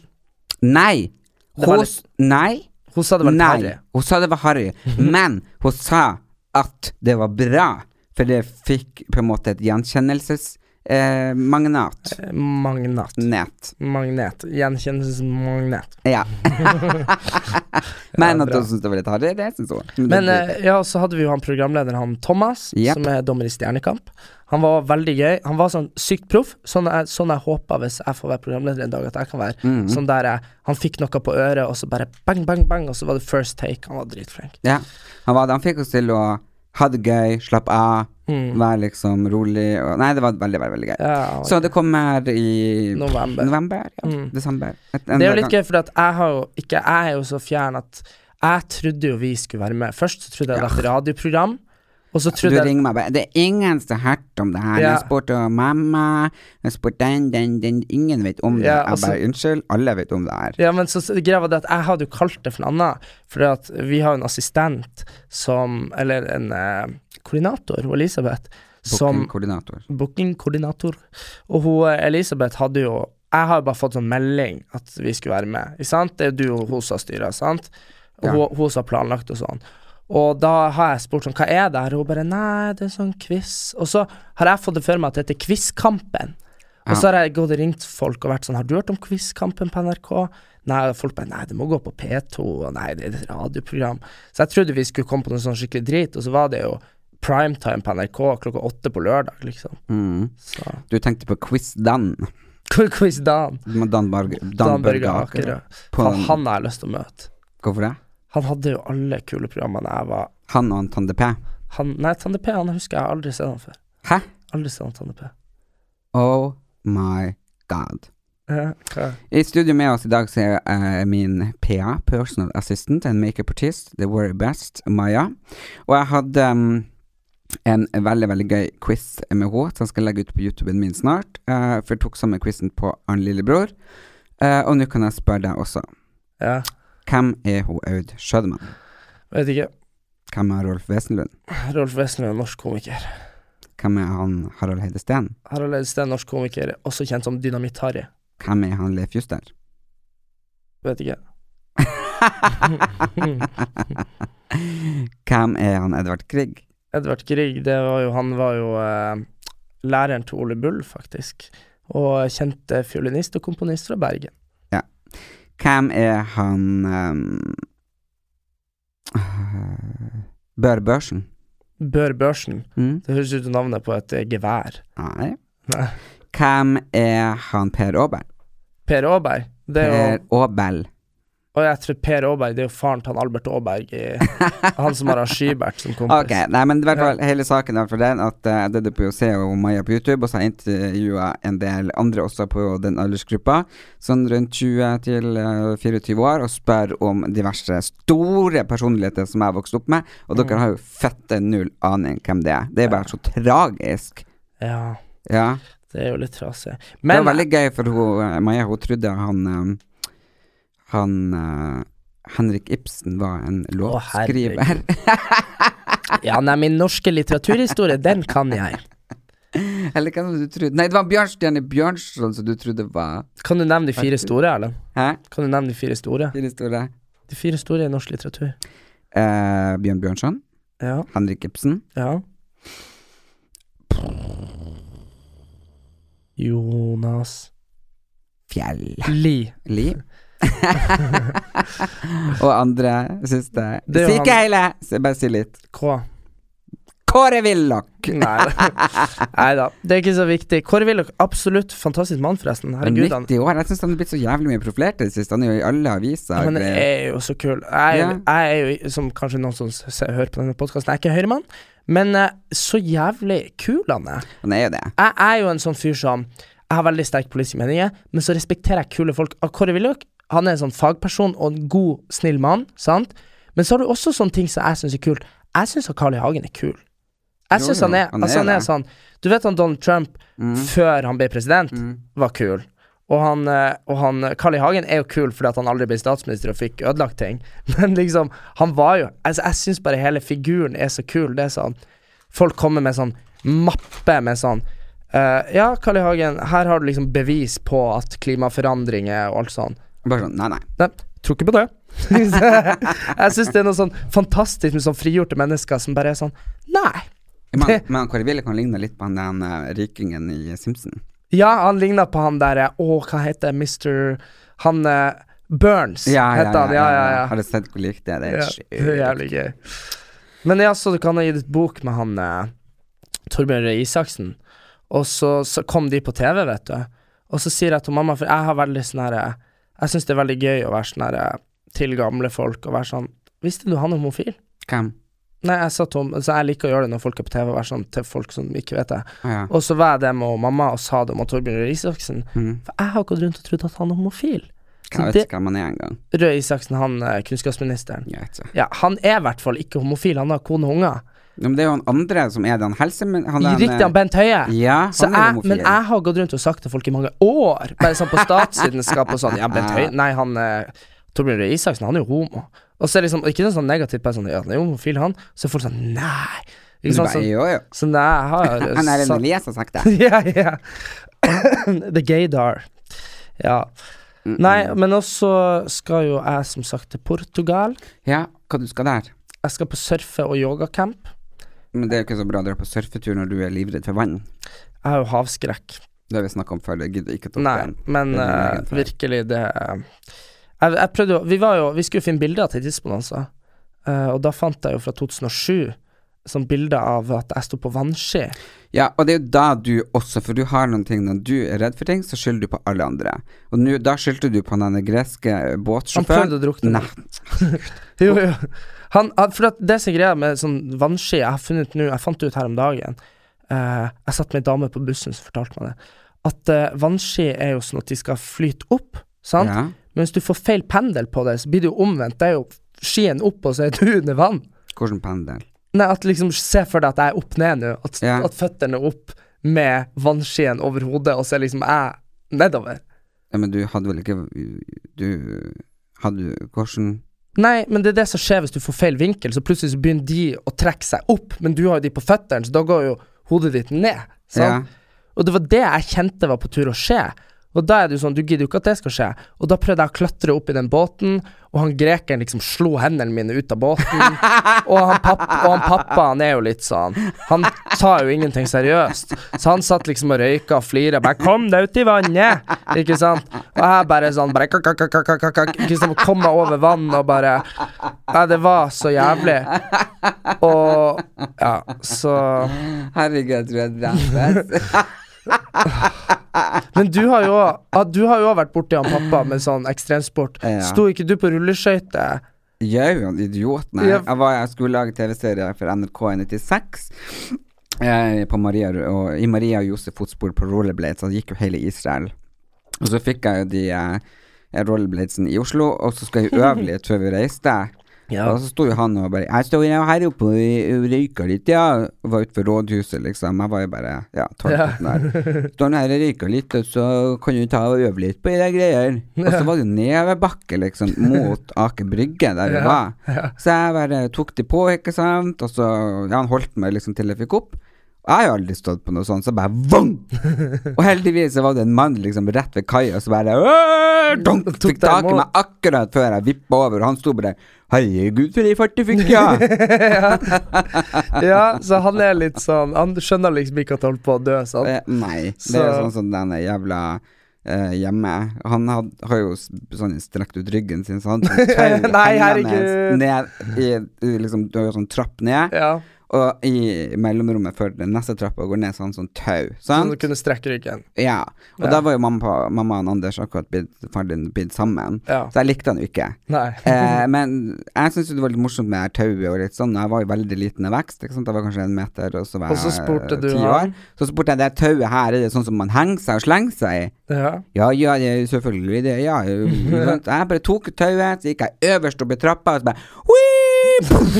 S1: Nei!
S2: Det var
S1: Hun
S2: litt-
S1: s- Nei!
S2: Hun sa det var Mhm. litt
S1: Nei.
S2: harry.
S1: Hun sa det var harry, men hun sa at det var bra, for det fikk på en måte et gjenkjennelses... Eh, magnat.
S2: Magnat.
S1: Nett.
S2: Magnet. Gjenkjennelsesmagnet.
S1: Ja. Men
S2: Ja,
S1: at
S2: bra.
S1: hun syntes det var litt harry, det syns hun. Men
S2: Men
S1: det-
S2: eh, ja, så hadde vi jo han programlederen, han Thomas,
S1: Yep.
S2: som er dommer i Stjernekamp. Han var veldig gøy. Han var sånn sykt proff, sånn jeg, sånn jeg håper hvis jeg får være programleder en dag at jeg kan være. Sånn der jeg, han fikk noe på øret, og så bare bang, bang, bang, og så var det first take. Han var dritflink.
S1: Ja, han, var, han fikk oss til å ha det gøy, slappe av, være liksom rolig og Nei, det var veldig, veldig, veldig gøy.
S2: Mhm. Ja, og-
S1: Så det kommer i
S2: November. Mhm.
S1: ja. Desember. Et- en
S2: det er jo
S1: gang.
S2: litt gøy, for at jeg har jo ikke Jeg er jo så fjern at jeg trodde jo vi skulle være med. Først så trodde jeg det var et radioprogram, og så
S1: Du
S2: trodde jeg
S1: ringer meg bare Det er ingen som har hørt om det her.
S2: Ja.
S1: Jeg spurte om mamma, jeg spurte den, den, den Ingen vet om det.
S2: Ja,
S1: jeg
S2: altså-
S1: bare Unnskyld, alle vet om det her.
S2: Ja, men så, så greia var det at jeg hadde jo kalt det for noe annet. For at vi har jo en assistent som Eller en eh, koordinator, hun Elisabeth, som
S1: Bookingkoordinator.
S2: Bookingkoordinator. Og hun eh, Elisabeth hadde jo Jeg har jo bare fått sånn melding at vi skulle være med. Ikke sant? Det er du og hun som styrer, sant? Og
S1: Ja.
S2: hun, hun som har planlagt og sånn. Og da har jeg spurt sånn, hva er det her? Og hun bare nei, det er sånn quiz. Og så har jeg fått det for meg at det heter Quizkampen. Og så har jeg gått og ringt folk og vært sånn Har du hørt om Quizkampen på NRK? Nei, og folk bare Nei, det må gå på P2, og nei, det er et radioprogram. Så jeg trodde vi skulle komme på noe sånn skikkelig drit, og så var det jo primetime på NRK klokka åtte på lørdag, liksom. Så
S1: Du tenkte på Quiz Dan.
S2: Qu- Quiz Dan.
S1: med Dan, Barg
S2: Dan
S1: Dan
S2: Børge
S1: Børge
S2: Akerø.
S1: Akerø. På
S2: Han,
S1: den-
S2: han har jeg lyst til å møte.
S1: Hvorfor det?
S2: Han hadde jo alle kule programmene jeg var
S1: Han og han Tande P.
S2: han, Nei, Tande P, han husker jeg har aldri sett han før.
S1: Hæ?
S2: Aldri sett han Tande P.
S1: Oh my god.
S2: Ja, hva?
S1: I studio med oss i dag så er eh, min PA, personal assistant and makeup artist, the very best, Maya. Og jeg hadde mm, en veldig, veldig gøy quiz med henne som jeg skal legge ut på YouTuben min snart. eh, for jeg tok sammen quizen på Arne Lillebror. Eh, og nå kan jeg spørre deg også.
S2: ja.
S1: Hvem er hun Aud Schødemann?
S2: Vet ikke.
S1: Hvem er Rolf Wesenlund?
S2: Rolf Wesenlund er en norsk komiker.
S1: Hvem er han Harald Heide Steen?
S2: Harald Edsten er en norsk komiker, også kjent som Dynamitt-Harry.
S1: Hvem er han Leif Juster?
S2: Vet ikke.
S1: Hvem er han Edvard Grieg?
S2: Edvard Grieg, det var jo, han var jo eh, læreren til Ole Bull, faktisk. og kjente fiolinist og komponist fra Bergen.
S1: Hvem er han ehm, øh, Bør Børsen?
S2: Bør Børsen.
S1: Mm?
S2: Det høres ut som navnet på et eh, gevær.
S1: Nei.
S2: Nei.
S1: Hvem er han Per Aaberg?
S2: Per Aaberg. Det er jo,
S1: Per Aabel.
S2: og jeg tror Per Aaberg det er jo faren til han Albert Aaberg, i, han som har han Skybert som kompis.
S1: Ok, nei, men i hvert fall hele saken er for den at eh, jeg døde på å se og Maja på YouTube, og så har jeg intervjua en del andre også på den aldersgruppa, sånn rundt 20 til eh, 24 år, og spør om diverse store personligheter som jeg vokste opp med, og
S2: Mm.
S1: dere har jo fette null aning hvem det er. Det er bare så tragisk.
S2: Ja,
S1: Ja.
S2: det er jo litt trasig.
S1: Det var
S2: Men
S1: veldig gøy, for hun, eh, Maja hun trodde han eh, Han eh, Henrik Ibsen var en
S2: herregud.
S1: låtskriver.
S2: ja, nei, min norske litteraturhistorie, den kan jeg.
S1: Eller hva var det du trodde? Nei, det var Bjørnstjerne Bjørnson som du trodde var
S2: Kan du nevne de fire store, Erlend?
S1: Hæ?
S2: Kan du nevne de fire store?
S1: Fire store.
S2: De fire store i norsk litteratur.
S1: Eh, Bjørn Bjørnson,
S2: Ja,
S1: Henrik Ibsen
S2: ja. Jonas
S1: Fjell.
S2: Lie.
S1: Li. Og andre siste
S2: Det er jo
S1: Si ikke
S2: han-
S1: hele! Så jeg bare si litt.
S2: Hva?
S1: Kåre Willoch!
S2: Nei da, det er ikke så viktig. Kåre Willoch, absolutt fantastisk mann, forresten.
S1: Han
S2: Herregud,
S1: er
S2: han
S1: 90 år. Jeg syns han har blitt så jævlig mye profilert i det siste. Han er jo i alle aviser.
S2: Ja, men
S1: og
S2: jeg
S1: greier.
S2: er jo så kul. Jeg, er- jeg er jo, som kanskje noen som s- s- hører på denne podkasten, jeg er ikke høyremann, men eh, så jævlig kul han er.
S1: han er jo det.
S2: Jeg er jo en sånn fyr som Jeg har veldig sterke politiske meninger, men så respekterer jeg kule folk. Ah, Kåre Willoch han er en sånn fagperson og en god, snill mann, sant? Men så har du også sånne ting som jeg syns er kult. Jeg syns Carl I. Hagen er kul. Jeg
S1: Jo,
S2: syns
S1: jo,
S2: han er
S1: han er
S2: Altså, han er
S1: det. Mm.
S2: sånn Du vet han Donald Trump, før han ble president, var kul. Og han, eh, og han eh, Carl I. Hagen er jo kul fordi at han aldri ble statsminister og fikk ødelagt ting. Men liksom, han var jo altså, Jeg syns bare hele figuren er så kul. Det er sånn Folk kommer med sånn mappe med sånn eh, Ja, Carl I. Hagen, her har du liksom bevis på at klimaforandringer og alt sånn.
S1: Bare sånn, nei, nei.
S2: Nei, tror ikke på det. jeg syns det er noe sånn fantastisk med sånn frigjorte mennesker som bare er sånn Nei.
S1: Men, men Kåre Willoch han ligner litt på han den eh, rikingen i Simpson.
S2: Ja, han ligna på han derre Å, hva heter det? Mr. Han eh, Burns, heter han. Ja, ja, ja.
S1: Har du sett hvor likt det er? Det er
S2: Ja,
S1: sjukt.
S2: det er jævlig gøy. Men ja, så kan ha gitt ut bok med han eh, Torbjørn Røe Isaksen, og så, så kom de på TV, vet du. Og så sier jeg til mamma, for jeg har veldig sånn herre Jeg syns det er veldig gøy å være sånn herre til gamle folk og være sånn Visste du han er homofil?
S1: Hvem?
S2: Nei, jeg sa Tom, så jeg liker å gjøre det når folk er på TV, og være sånn til folk som ikke vet det.
S1: Å ja.
S2: Og så var jeg det med mamma og sa det om Torbjørn Røe Isaksen,
S1: Mhm.
S2: for jeg har gått rundt og trodd at han er homofil.
S1: Jeg vet
S2: det-
S1: ikke hvem han er engang.
S2: Røe Isaksen, han eh, kunnskapsministeren.
S1: Jeg vet ikke.
S2: Ja, han er i hvert fall ikke homofil, han har kone og unger.
S1: Ja, men det er jo han andre som er den helse... men Han, den,
S2: Riktig,
S1: eh,
S2: han Bent Høie.
S1: Ja, han
S2: Så
S1: er
S2: jeg,
S1: homofil.
S2: men jeg har gått rundt og sagt til folk i mange år, bare sånn på statsvitenskap og sånn Ja, Bent Høie Nei, han eh, Torbjørn Røe Isaksen, han er jo homo. Og så er det liksom, ikke noe sånn negativt, bare sånn Ja, han er jo homofil, han. Så er folk sånn Nei. Ikke
S1: Du
S2: sant?
S1: bare,
S2: Så,
S1: jo, jo.
S2: så nei, jeg har
S1: Han er en
S2: sagt-
S1: Elias har sagt det.
S2: Ja, ja. The gaydar. Ja. Nei, men også skal jo jeg som sagt til Portugal.
S1: Ja, hva du skal der?
S2: Jeg skal på surfe- og yogacamp.
S1: Men det er jo ikke så bra å dra på surfetur når du er livredd for vann.
S2: Jeg har jo havskrekk.
S1: Det har vi snakka om før, det gidder jeg ikke ta opp
S2: Nei,
S1: igjen.
S2: men
S1: Det er din
S2: eh,
S1: egen feil.
S2: virkelig, det eh, jeg, jeg prøvde jo Vi var jo Vi skulle finne bilder til tidsbonanza, eh, og da fant jeg jo fra 2007 sånn bilder av at jeg sto på vannski.
S1: Ja, og det er jo da du også, for du har noen ting når du er redd for ting, så skylder du på alle andre. Og nå, da skyldte du på den greske eh, båtsjåføren.
S2: Han prøvde å drukne.
S1: Nei.
S2: Jo, jo. Han, han, for at det som er greia med sånn vannski jeg har funnet nå, jeg fant det ut her om dagen eh, Jeg satt med ei dame på bussen som fortalte meg det, at eh, vannski er jo sånn at de skal flyte opp, sant?
S1: Ja.
S2: Men hvis du får feil pendel på det, så blir det jo omvendt. Det er jo skien opp, og så er du under vann.
S1: Hvordan pendel?
S2: Nei, at liksom Se for deg at jeg er opp ned nå. At,
S1: Ja.
S2: at føttene er opp med vannskien over hodet, og så er liksom jeg nedover.
S1: Ja, men du hadde vel ikke Du hadde Hvordan
S2: Nei, men det er det som skjer hvis du får feil vinkel, så plutselig så begynner de å trekke seg opp, men du har jo de på føttene, så da går jo hodet ditt ned. Sant?
S1: Ja.
S2: Og det var det jeg kjente var på tur å skje. Og da er det jo sånn, du gidder jo ikke at det skal skje. Og da prøvde jeg å klatre opp i den båten, og han grekeren liksom slo hendene mine ut av båten. Og han, papp, og han pappa, han er jo litt sånn Han tar jo ingenting seriøst. Så han satt liksom og røyka og flira. Bare 'kom deg ut i vannet', ikke sant? Og jeg bare sånn bare, kakk, kakk, kakk, kakk, kakk, Ikke sant, Kom meg over vann og bare Nei, det var så jævlig. Og Ja, så
S1: Herregud, jeg tror jeg drepes.
S2: Men du har jo ah, Du har jo også vært borti han pappa med sånn ekstremsport.
S1: Ja.
S2: Sto ikke du på rulleskøyter?
S1: Jeg er jo en idiot, nei.
S2: Ja.
S1: Jeg, var, jeg skulle lage TV-serie for NRK i 96. Jeg, på Maria, og, I Maria og Josef fotspor på rollerblades, så det gikk jo hele Israel. Og så fikk jeg jo de eh, rollerbladesene i Oslo, og så skulle jeg øve litt før vi reiste.
S2: Ja.
S1: Og så sto jo han og bare 'Jeg står jo her oppe og røyker litt, ja.' Og var ute ved rådhuset, liksom. Jeg var jo bare ja, 12-13 år. Står nå her og røyker litt, og så kan du ta og øve litt på de greier. Og så var det jo nevebakke, liksom, mot Aker Brygge, der vi var. Så jeg bare tok de på, ikke sant. Og så Ja, han holdt meg liksom til jeg fikk opp. Og Jeg har jo aldri stått på noe sånt, så bare vong! Og heldigvis så var det en mann liksom rett ved kaia som bare «Åh!» dunk,
S2: Tok
S1: Fikk
S2: deg
S1: tak i
S2: imot.
S1: meg akkurat før jeg vippa over, og han sto bare Herregud, for ei fart du fikk, ja!
S2: Ja, så han er litt sånn Han skjønner liksom ikke at han holder på å dø, sånn. sant?
S1: Eh, Nei. Det er jo
S2: Så-
S1: sånn som den jævla eh, hjemme. Han had, har jo s- sånn strekt ut ryggen sin, så han tok tau
S2: Nei,
S1: hengende
S2: herregud.
S1: ned i i liksom, Du har jo sånn trapp ned,
S2: Ja,
S1: og i mellomrommet før den neste trappa går ned, så har han sånn tau.
S2: sånn
S1: Sant?
S2: at du kunne strekke ryggen.
S1: Ja. Og
S2: Ja.
S1: da var jo mamma, pa- mamma og Anders akkurat blitt, faren din blitt sammen,
S2: Ja.
S1: så jeg likte han jo ikke.
S2: Nei.
S1: Eh, men jeg syns det var litt morsomt med det her tauet og litt sånn. Jeg var jo veldig liten i vekst. Ikke sant? Jeg var kanskje en meter, og så var
S2: Og så
S1: jeg
S2: spurte
S1: eh,
S2: du
S1: ti år.
S2: han.
S1: Så spurte jeg det tauet her, er det sånn som man henger seg og slenger seg i?
S2: Ja.
S1: Ja, ja, det er selvfølgelig det, ja. jo, ikke sant? Jeg bare tok tauet, så gikk jeg øverst opp i trappa, og så bare «Hui!» Puff!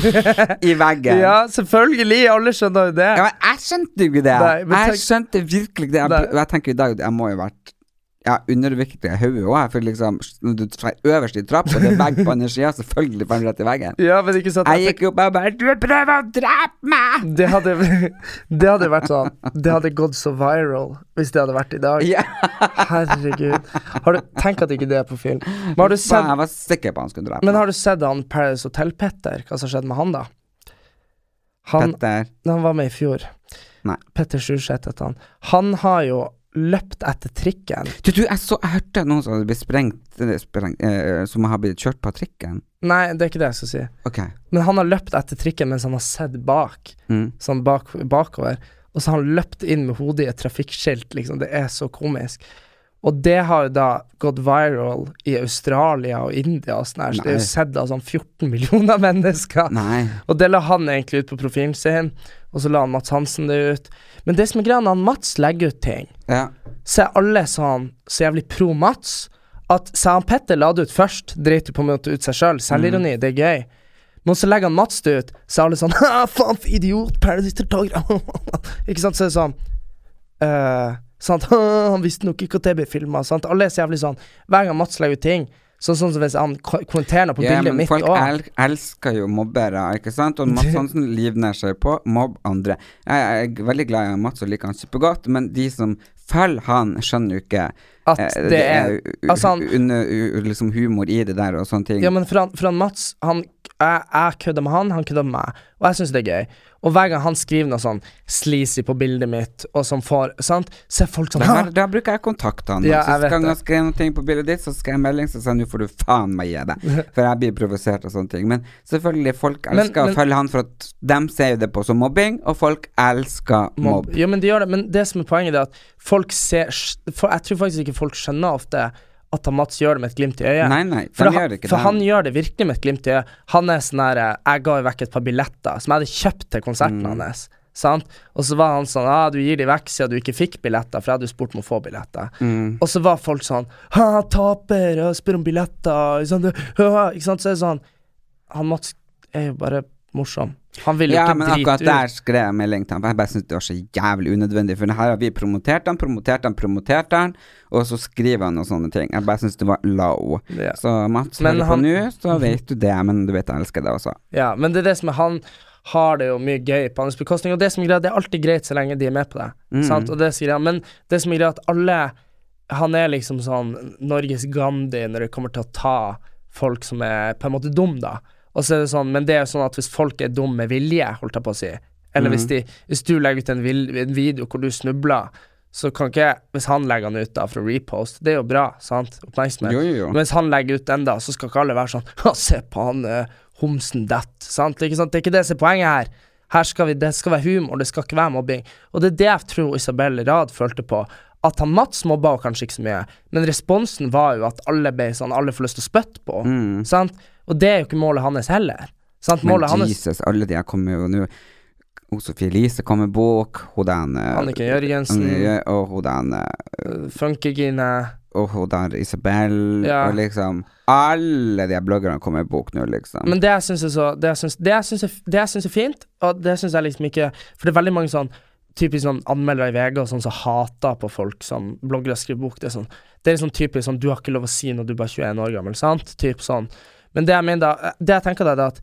S1: I veggen.
S2: ja, selvfølgelig! Alle skjønner jo det.
S1: Ja, men jeg skjønte jo ikke det.
S2: Nei, men
S1: jeg
S2: tenk-
S1: skjønte virkelig ikke det. Jeg,
S2: Nei.
S1: pr- jeg tenker i dag at jeg må jo ha vært ja, underviktig i hodet òg, for liksom Når du trær øverst i trappa, og det er vegg på andre sida, selvfølgelig faller du rett i veggen.
S2: Ja, men ikke sant
S1: Jeg gikk opp og bare Du prøver å drepe meg!
S2: det hadde, det hadde vært sånn Det hadde gått så viral hvis det hadde vært i dag.
S1: Ja.
S2: Herregud. Har du, tenk at ikke det er på film. Men har du
S1: Faen,
S2: sett,
S1: jeg var sikker på han skulle drepe
S2: Sånn. men
S1: meg.
S2: har du sett han Paris Hotel-Petter? Hva som skjedde med han, da? Han,
S1: Petter
S2: han var med i fjor.
S1: Nei.
S2: Petter Sjurseth het han. Han har jo løpt etter trikken.
S1: Du, du, jeg, så, jeg hørte noen som hadde blitt sprengt, eh, sprengt eh, Som har blitt kjørt på trikken.
S2: Nei, det er ikke det jeg skal si.
S1: Ok.
S2: Men han har løpt etter trikken mens han har sett bak.
S1: Mm.
S2: Sånn bak, bakover. Og så har han løpt inn med hodet i et trafikkskilt, liksom. Det er så komisk. Og det har jo da gått viral i Australia og India og sånn her. Så det er
S1: Nei.
S2: jo sett av sånn 14 millioner mennesker.
S1: Nei.
S2: Og det la han egentlig ut på profilen sin, og så la han Mats Hansen det ut. Men det som er greia, når han Mats legger ut ting,
S1: Ja.
S2: så er alle sånn så jævlig pro Mats at sa han Petter la det ut først, dreit jo på en måte ut seg sjøl.
S1: Mm.
S2: Selvironi, det er gøy. Men så legger han Mats det ut, så er alle sånn «Haha, Faen, for idiot! Paradise-deltaker! ikke sant? Så er det sånn eh, sant? «Haha, Han visste nok ikke at det ble filma. Alle er så jævlig sånn Hver gang Mats legger ut ting, så sånn som hvis han ko- kommenterer noe på
S1: Ja,
S2: bildet
S1: men
S2: mitt
S1: folk
S2: også.
S1: el elsker jo mobbere, ikke sant? Og Mats Hansen livnær seg på mobb andre. Jeg, jeg er veldig glad i Mats og liker han supergodt, men de som følger han, skjønner jo ikke
S2: At
S1: eh,
S2: det
S1: det
S2: er-
S1: er u-
S2: altså han-
S1: under- u- liksom humor i det der og sånne ting.
S2: Ja, men for han, for han Mats, han, jeg, jeg kødder med han, han kødder med meg. Og jeg syns det er gøy. Og hver gang han skriver noe sånn sleazy på bildet mitt, og som får sant, så er folk sånn
S1: da,
S2: Hæ?
S1: har- da bruker jeg kontakte han.
S2: Ja, jeg
S1: så
S2: vet
S1: skal han
S2: det.
S1: skrive noe på bildet ditt, så skal jeg melding, så sier han nå får du faen meg gi deg. For jeg blir provosert og sånne ting. Men selvfølgelig, folk
S2: Men-
S1: elsker
S2: men-
S1: å følge han, for at dem ser jo det på som mobbing, og folk elsker mobb.
S2: Ja, men de gjør det. Men det som er poenget, det er at folk ser for Jeg tror faktisk ikke folk skjønner ofte at han Mats gjør det med et glimt i øyet.
S1: Nei, nei,
S2: for
S1: de
S2: han,
S1: gjør det ikke,
S2: for
S1: de.
S2: han gjør det virkelig med et glimt i øyet. Han er sånn her eh, Jeg ga jo vekk et par billetter som jeg hadde kjøpt til konserten
S1: Mm.
S2: hans. Sant? Og så var han sånn ah, 'Du gir de vekk siden du ikke fikk billetter', for jeg hadde jo spurt om å få billetter.
S1: Mm.
S2: Og så var folk sånn 'Hæ, taper, og spør om billetter', ikke sant? «Hæ?» Ikke sant? Så er det sånn Han Mats er jo bare morsom. Han vil jo
S1: Ja, men
S2: ikke
S1: akkurat
S2: drite
S1: der
S2: ut.
S1: skrev jeg melding til ham. for Jeg bare syntes det var så jævlig unødvendig. For her har vi promotert han, promotert han, promotert han, og så skriver han og sånne ting. Jeg bare syntes det var low.
S2: Ja.
S1: Så Mats,
S2: Men
S1: hører du på
S2: han-
S1: nå, så vet du det. Men du vet jeg elsker deg også.
S2: Ja, men det er det som er han har det jo mye gøy på hans bekostning,
S1: Mm.
S2: og det som er greia, det er alltid greit så lenge de er med på det. Sant? Og det som er greia, men det som er greia, at alle han er liksom sånn Norges Gandhi når det kommer til å ta folk som er på en måte dum, da. Og så er det sånn, men det er jo sånn at hvis folk er dum med vilje, holdt jeg på å si, eller
S1: Mm.
S2: hvis, de, hvis du legger ut en, vil, en video hvor du snubler, så kan ikke Hvis han legger den ut da for å repost, det er jo bra, sant? Oppmerksomhet.
S1: Jo, jo, jo.
S2: Men hvis han legger ut den, da, så skal ikke alle være sånn «Ha, Se på han eh, homsen dett, sant? Det er, ikke sant? det er ikke det som er poenget her. Her skal vi, Det skal være humor, det skal ikke være mobbing. Og det er det jeg tror Isabel Rad følte på. At han Mats mobba jo kanskje ikke så mye, men responsen var jo at alle ble sånn Alle får lyst til å spytte på. Sant? Og det er jo ikke målet hans heller. Sant?
S1: Men
S2: Målet hans
S1: Jesus, alle de her kommer jo nå. Hun Sofie Elise kom med bok, hun den eh,
S2: Anniken Jørgensen,
S1: Anne- Og hun den eh,
S2: Funkygine
S1: Og hun der Isabel
S2: Ja.
S1: Og liksom Alle de her bloggerne kommer med bok nå, liksom.
S2: Men det jeg syns er så Det jeg syns, det jeg syns, er, det jeg syns er fint, og det syns jeg liksom ikke For det er veldig mange sånn typisk sånn anmeldere i VG og sånn som hater på folk som bloggere skriver bok. Det er sånn Det er sånn typisk sånn Du har ikke lov å si når du er bare 21 år gammel, sant? Typ sånn. Men det jeg mener da eh, Det jeg tenker da, det er at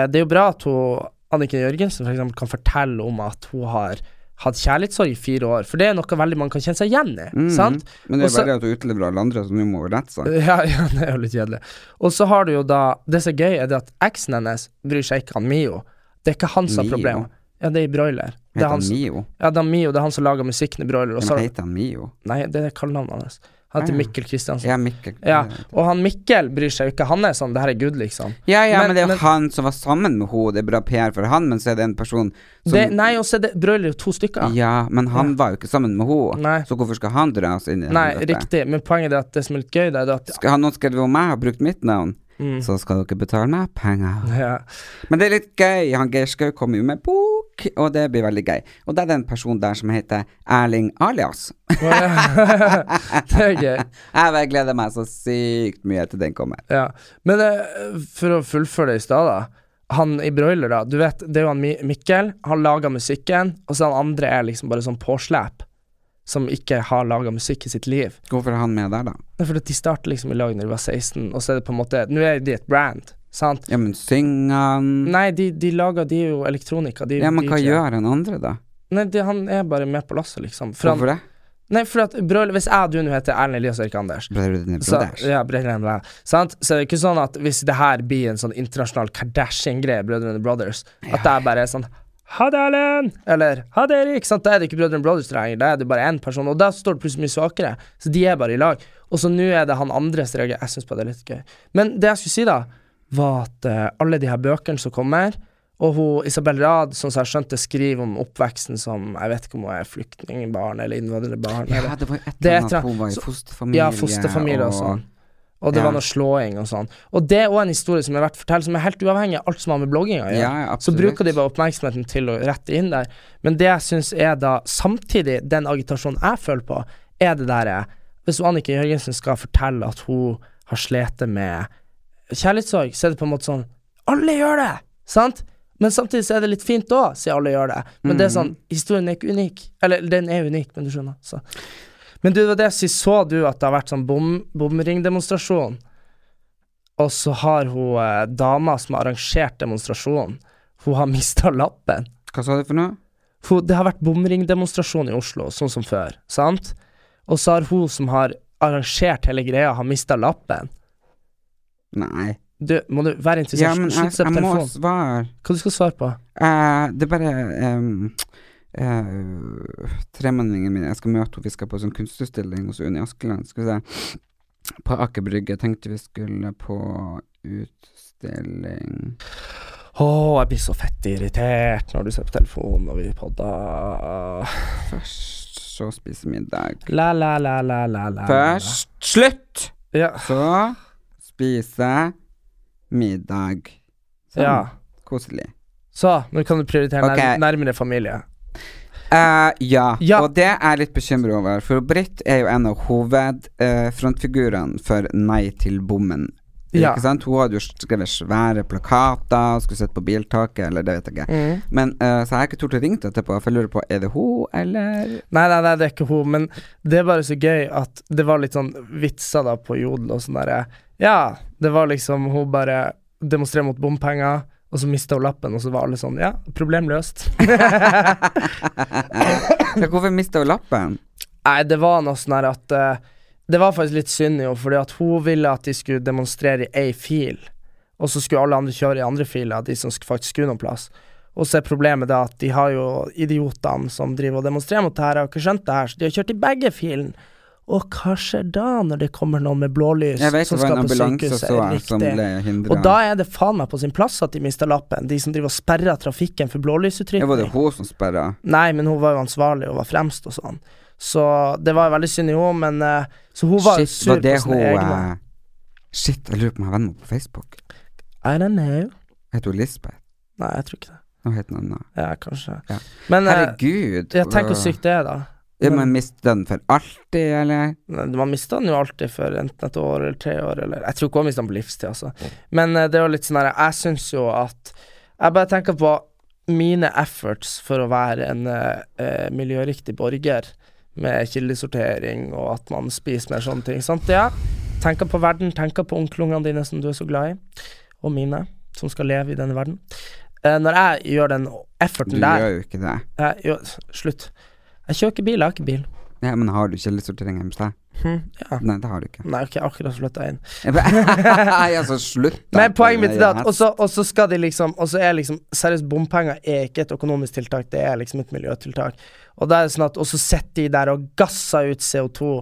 S2: eh, det er jo bra at hun Anniken Jørgensen for eksempel, kan fortelle om at hun har hatt kjærlighetssorg i fire år, for det er noe veldig mange kan kjenne seg igjen i, sant?
S1: Mm, Men det er
S2: Også-
S1: bare at hun utleverer alle andre, så nå må hun rette seg.
S2: ja, ja, det er jo litt kjedelig. Og så har du jo da Det som er gøy, er det at eksen hennes bryr seg ikke om Mio. Det er ikke hans
S1: Mio?
S2: problem. Ja, det er i Broiler. Det
S1: Heter
S2: er
S1: han
S2: hans,
S1: Mio?
S2: ja, det er Mio, det er han som lager musikken i Broiler. Og
S1: Men
S2: så,
S1: heter han Mio?
S2: nei, det er kallenavnet hans. Han
S1: Ah,
S2: heter
S1: ja.
S2: Mikkel Kristiansen.
S1: Ja, Mikkel.
S2: Ja, og han Mikkel bryr seg jo ikke. Han er sånn 'det her er good', liksom.
S1: Ja, ja, men,
S2: Men-
S1: det er jo
S2: men-
S1: han som var sammen med henne, det er bra PR for han, men så er det en person som
S2: Det, nei, og så er det Broiler er jo to stykker.
S1: Ja, men han var jo ikke sammen med
S2: Nei.
S1: henne, så hvorfor skal han dras inn i
S2: Nei,
S1: helvete?
S2: riktig, men poenget er at det som er litt gøy, det er det at
S1: Skal han nå skrevet om meg og brukt mitt navn,
S2: Mm.
S1: så skal dere betale meg penger.
S2: ja,
S1: Men det er litt gøy, han Geir Skau kommer jo med bok, og det blir veldig gøy. Og det er den personen der som heter Erling Alias.
S2: Det er gøy.
S1: Jeg bare gleder meg så sykt mye til den kommer.
S2: Ja. Men eh, for å fullføre det i stad, da. Han i Broiler, da. Du vet, det er jo han Mi- Mikkel. Han lager musikken, og så han andre er liksom bare sånn påslep. Som ikke har laga musikk i sitt liv.
S1: Hvorfor er han med der, da?
S2: Det er fordi at de starter liksom i lag når de var 16, og så er det på en måte Nå er de et brand, sant?
S1: Ja, men synger han
S2: Nei, de, de lager De er jo elektronika. De, er
S1: Ja, men hva
S2: DJ.
S1: gjør han andre, da?
S2: Nei, de, han er bare med på lasset, liksom. For han,
S1: Hvorfor det?
S2: nei, for at Broiler Hvis jeg og du nå heter Erlend Elias og Erik Anders,
S1: Brødrene
S2: Så,
S1: Brothers.
S2: ja, Brødrene Brothers. Sant? Så det er ikke sånn at hvis det her blir en sånn internasjonal Kardashian-greie, Brødrene Brothers, at det er bare er sånn Ha det, Erlend! Eller Ha det, Erik! Sant? Da er det ikke Brødrene Brothers det lenger, da er det bare én person, og da står det plutselig mye svakere. Så de er bare i lag. Og så nå er det han andres reagerer. Jeg syns bare det er litt gøy. Men det jeg skulle si, da, var at eh, alle de her bøkene som kommer og hun, Isabel Rad, som jeg skjønte, skriver om oppveksten som Jeg vet ikke om hun er flyktningbarn eller innvandrerbarn.
S1: Ja,
S2: eller-
S1: det var jo et
S2: Det er
S1: eller annet
S2: etter-
S1: at hun var i
S2: så-
S1: fosterfamilie.
S2: ja, fosterfamilie og sånn. Og det
S1: Ja.
S2: var noe slåing og sånn. Og det er òg en historie som er verdt å fortelle, som er helt uavhengig av alt som har med blogging å gjøre.
S1: Ja, ja,
S2: så
S1: absolutt.
S2: bruker de bare oppmerksomheten til å rette inn der. Men det jeg syns er da samtidig den agitasjonen jeg føler på, er det derre Hvis Anniken Jørgensen skal fortelle at hun har slitt med kjærlighetssorg, så er det på en måte sånn Alle gjør det! Sant? Men samtidig så er det litt fint òg, siden alle gjør det. Men det er sånn, historien er ikke unik. Eller den er unik, men du skjønner. Så. Men du, det var det jeg skulle si. Så du at det har vært sånn bom, bomringdemonstrasjon? Og så har hun eh, dama som har arrangert demonstrasjonen, hun har mista lappen.
S1: Hva sa du for noe?
S2: Hun, det har vært bomringdemonstrasjon i Oslo, sånn som før, sant? Og så har hun som har arrangert hele greia, har mista lappen.
S1: Nei.
S2: Du, må du være
S1: Ja,
S2: interessert?
S1: men jeg,
S2: Slutt å se
S1: jeg må
S2: på telefonen.
S1: svare.
S2: Hva du skal svare på?
S1: Eh, det er bare um, uh, Tremenningen min Jeg skal møte henne. Vi skal på sånn kunstutstilling hos Unni Askeland. Skal vi se. På Aker Brygge. Tenkte vi skulle på utstilling
S2: Å, jeg blir så fett irritert når du ser på telefonen og vi podder.
S1: Først så spise middag.
S2: La, la, la, la, la, la.
S1: Først Slutt!
S2: Ja.
S1: Så spise middag. Sånn.
S2: ja.
S1: Koselig.
S2: Så, nå kan du prioritere nær
S1: Ok.
S2: nærmere familie.
S1: Eh, ja.
S2: Ja.
S1: og det er jeg litt bekymra over, for Britt er jo en av hovedfrontfigurene for Nei til bommen.
S2: Ja.
S1: Ikke sant? Hun hadde jo skrevet svære plakater, skulle sitte på biltaket, eller det vet jeg ikke.
S2: Mm.
S1: Men, eh, så jeg har ikke tort å ringe henne etterpå, for jeg lurer på er det hun, eller
S2: Nei, nei, nei, det er ikke hun, men det er bare så gøy at det var litt sånn vitser da på Jodel og sånn derre Ja, det var liksom Hun bare demonstrerer mot bompenger, og så mista hun lappen, og så var alle sånn Ja, problem løst.
S1: Så Hvorfor mista hun lappen?
S2: nei, det var noe sånn her at eh, Det var faktisk litt synd, jo, fordi at hun ville at de skulle demonstrere i ei fil, og så skulle alle andre kjøre i andre filer, de som sk- faktisk skulle noen plass. Og så er problemet da at de har jo idiotene som driver og demonstrerer mot det her, har jo ikke skjønt det her, så de har kjørt i begge filene. Og hva skjer da, når det kommer noen med blålys
S1: Jeg vet det
S2: som
S1: var
S2: skal
S1: en
S2: på
S1: ambulanse
S2: sykehuset?
S1: også, eh, som
S2: Riktig.
S1: ble hindra.
S2: Og da er det faen meg på sin plass at de mister lappen, de som driver og sperrer trafikken for
S1: Ja, var
S2: blålysutrykning.
S1: det hun som sperra?
S2: Nei, men hun var jo ansvarlig og var fremst og sånn. Så det var veldig synd i henne, men eh, Så hun var jo
S1: Shit,
S2: sur
S1: var det
S2: på
S1: hun
S2: sine egne.
S1: eh, Shit, jeg lurer på om jeg har venner på Facebook.
S2: I don't know.
S1: Heter hun Lisbeth?
S2: Nei, jeg tror ikke det.
S1: Nå heter hun noe.
S2: Ja, kanskje.
S1: Ja.
S2: Men eh,
S1: Herregud. øh.
S2: ja, tenk hvor
S1: hva-
S2: sykt det er, da.
S1: Ja, men miste den for alltid, eller?
S2: Nei, Man mister den jo alltid for enten et år eller tre år, eller Jeg tror ikke hun mister den på livstid, altså.
S1: Mm.
S2: Men eh, det er jo litt sånn her Jeg syns jo at Jeg bare tenker på mine efforts for å være en eh, eh, miljøriktig borger, med kildesortering og at man spiser mer sånne ting. Sant, ja? Tenker på verden, tenker på onkelungene dine som du er så glad i, og mine, som skal leve i denne verden. Eh, når jeg gjør den
S1: Du
S2: efforten der
S1: gjør jo ikke det.
S2: jeg, jo, Slutt. Jeg kjører ikke bil, jeg har ikke bil.
S1: Ja, men har du kildesortering hjemme hos deg?
S2: Hm, ja.
S1: Nei, det har du ikke.
S2: Nei, ok, akkurat flytta inn.
S1: Jeg bare- Ja, så slutt. da.
S2: Men poenget mitt er det at
S1: Ja,
S2: også, også skal de liksom også er liksom, Seriøst, bompenger er ikke et økonomisk tiltak, det er liksom et miljøtiltak. Og da er det sånn at også sitter de der og gasser ut CO2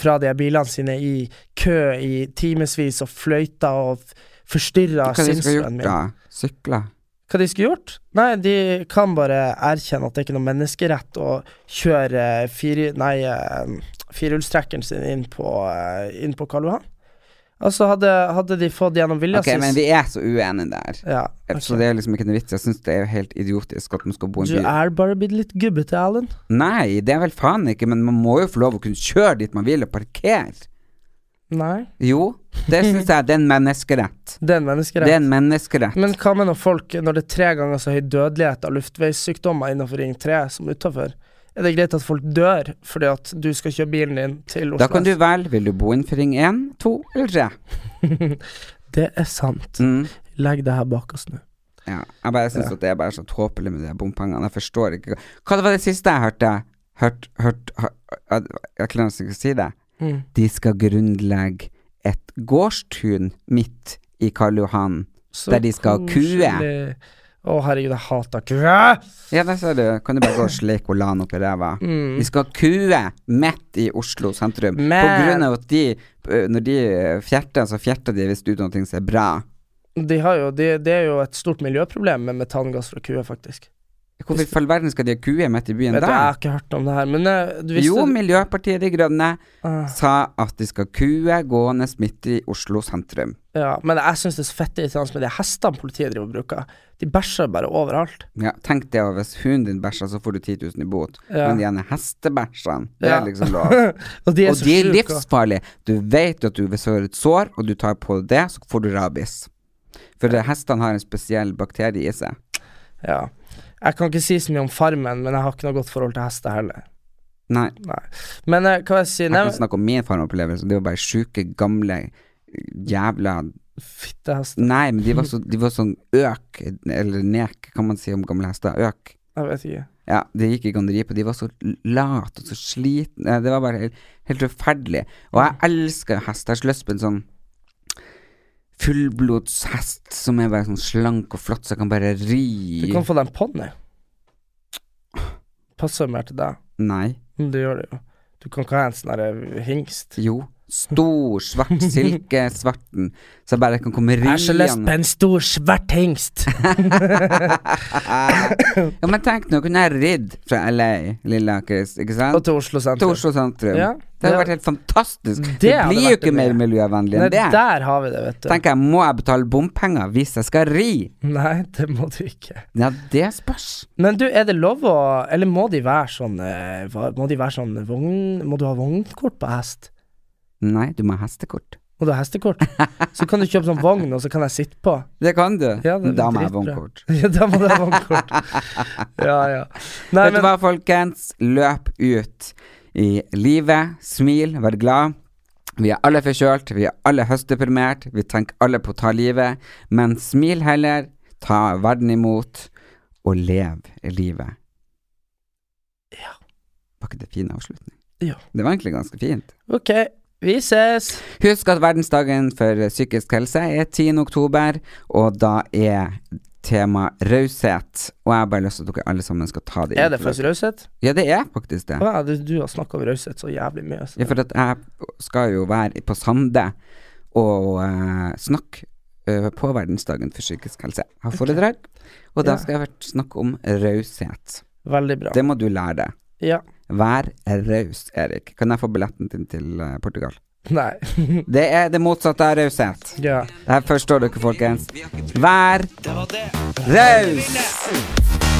S2: fra de her bilene sine i kø i timevis og fløyter og f- forstyrrer
S1: Hva skal de
S2: sinnssøvnen
S1: gjort
S2: min.
S1: da? Sykle?
S2: Hva de skulle gjort? Nei, de kan bare erkjenne at det er ikke noe menneskerett å kjøre fire, nei, eh, firehjulstrekkeren sin inn på, eh, inn på Karl Johan. Altså, hadde, hadde de fått gjennom vilja
S1: Ok, men vi er så uenige der.
S2: Ja,
S1: Så
S2: ok.
S1: det er liksom ikke noe vits. Jeg syns det er jo helt idiotisk at man skal bo i
S2: Du
S1: en by.
S2: er bare blitt litt gubbete, Alan.
S1: Nei, det er vel faen ikke, men man må jo få lov å kunne kjøre dit man vil og parkere.
S2: Nei.
S1: Jo, det syns jeg det er en menneskerett.
S2: Det er en menneskerett.
S1: Det er en menneskerett.
S2: Men hva med når folk, når det er tre ganger så høy dødelighet av luftveissykdommer innenfor Ring 3 som utafor? Er det greit at folk dør fordi at du skal kjøre bilen din til Oslo?
S1: Da kan du velge, vil du bo innenfor ring 1, 2 eller 3?
S2: Det er sant.
S1: Mm.
S2: Legg det her bak oss nå.
S1: Ja. Jeg bare syns at det er bare så tåpelig med de bompengene. Jeg forstår ikke Hva det var det siste jeg hørte? Hørt, hørt, hørt jeg- Jeg klarer nesten ikke å si det.
S2: Mm.
S1: De skal grunnlegge et gårdstun midt i Karl Johan.
S2: Så
S1: Der de skal ha kue.
S2: koselig. Å, herregud, jeg hater kue!
S1: Ja, der ser du. Kan du bare gå og slikke Olan opp i ræva?
S2: Mm.
S1: De skal ha kue midt i Oslo sentrum. På
S2: Men-
S1: grunn av at de, eh, når de eh, fjerter, så fjerter de hvis det er noe som er bra.
S2: De har jo, de, det er jo et stort miljøproblem med metangass fra kue, faktisk.
S1: Hvorfor i all verden skal de ha kue midt i byen
S2: Vet du,
S1: da?
S2: jeg har ikke hørt om det her, men eh, du visste
S1: Jo, Miljøpartiet De Grønne
S2: Ah.
S1: sa at de skal ha kue gående midt i Oslo sentrum.
S2: Ja, men jeg syns det er så fett irriterende med de hestene politiet driver og bruker. De bæsjer bare overalt.
S1: Ja, tenk det, og hvis hunden din bæsjer, så får du 10 000 i bot.
S2: Ja.
S1: Men de gjerne hestebæsjene, det
S2: Ja.
S1: er liksom lov.
S2: Og de er
S1: og
S2: så
S1: de er
S2: sjuke. og-
S1: livsfarlige. Du vet at du hvis du har et sår, og du tar på det, så får du rabies. For eh, hestene har en spesiell bakterie i seg.
S2: Ja. Jeg kan ikke si så mye om Farmen, men jeg har ikke noe godt forhold til hester heller.
S1: Nei,
S2: Nei. Men eh, hva jeg si
S1: jeg
S2: Nei,
S1: kan snakke om min farmopplevelse. Det var bare sjuke, gamle jævla
S2: fittehester
S1: Nei, men de var, så, de var sånn øk, eller nek, kan man si om gamle hester. Øk.
S2: Jeg vet ikke.
S1: Ja, det gikk ikke an å ri på. De var så late og så slitne. Det var bare helt, helt forferdelig. Og
S2: Mm.
S1: jeg elsker hest. Jeg har så lyst på en sånn fullblodshest som er bare sånn slank og flott, så jeg kan bare ri
S2: Du kan få deg en ponni. Passer mer til deg.
S1: Nei.
S2: Men det gjør det jo. Du kan ikke ha en sånn derre hingst.
S1: Jo. Stor, svart silke, svarten, så jeg bare kan komme
S2: Jeg har så lyst på
S1: riende.
S2: en stor, svart hingst.
S1: Ja, men tenk nå, kunne jeg ridd fra LA, Lillakris, ikke
S2: Og
S1: sant?
S2: til Oslo
S1: Til
S2: sentrum.
S1: Oslo sentrum.
S2: Ja,
S1: det hadde
S2: ja.
S1: vært helt fantastisk. Det,
S2: hadde
S1: blir jo
S2: vært
S1: ikke
S2: det
S1: mer
S2: mye.
S1: miljøvennlig
S2: Nei,
S1: enn det.
S2: der har vi det, vet du.
S1: tenker jeg, må jeg betale bompenger hvis jeg skal ri?
S2: Nei, det må du ikke.
S1: Ja, det spørs.
S2: Men du, er det lov å Eller må de være sånn eh, hva- Må de være sånn vogn Må du ha vognkort på hest?
S1: Nei, du må ha hestekort.
S2: Må du ha hestekort? Så kan du kjøpe sånn vogn, og så kan jeg sitte på.
S1: Det kan du.
S2: Ja, det er
S1: da må jeg ha
S2: dritbra.
S1: vognkort.
S2: Ja, da må du ha vognkort. Ja, ja. Nei,
S1: Vet du
S2: men
S1: hva, folkens? Løp ut i livet. Smil, vær glad. Vi er alle forkjølt, vi er alle høstdeprimert, vi tenker alle på å ta livet. Men smil heller, ta verden imot, og lev livet.
S2: Ja.
S1: Var ikke det fin avslutning?
S2: Ja.
S1: Det var egentlig ganske fint.
S2: Ok, Vi ses!
S1: Husk at verdensdagen for psykisk helse er 10. oktober, og da er tema raushet. Og jeg har bare lyst til at dere alle sammen skal ta det inn
S2: Er det
S1: for
S2: faktisk
S1: dere.
S2: raushet?
S1: Ja, det er faktisk det.
S2: Ja, du, du har snakka om raushet så jævlig mye. Så
S1: Ja, for at jeg skal jo være på Sande og eh, snakke eh, på verdensdagen for psykisk helse. Jeg har foredrag, og da
S2: Ja.
S1: skal jeg vært- snakke om raushet.
S2: Veldig bra.
S1: Det må du lære deg.
S2: Ja.
S1: Vær raus, Erik. Kan jeg få billetten din til eh, Portugal?
S2: Nei.
S1: Det er det motsatte av raushet.
S2: ja.
S1: Det her forstår dere, folkens. Vær raus!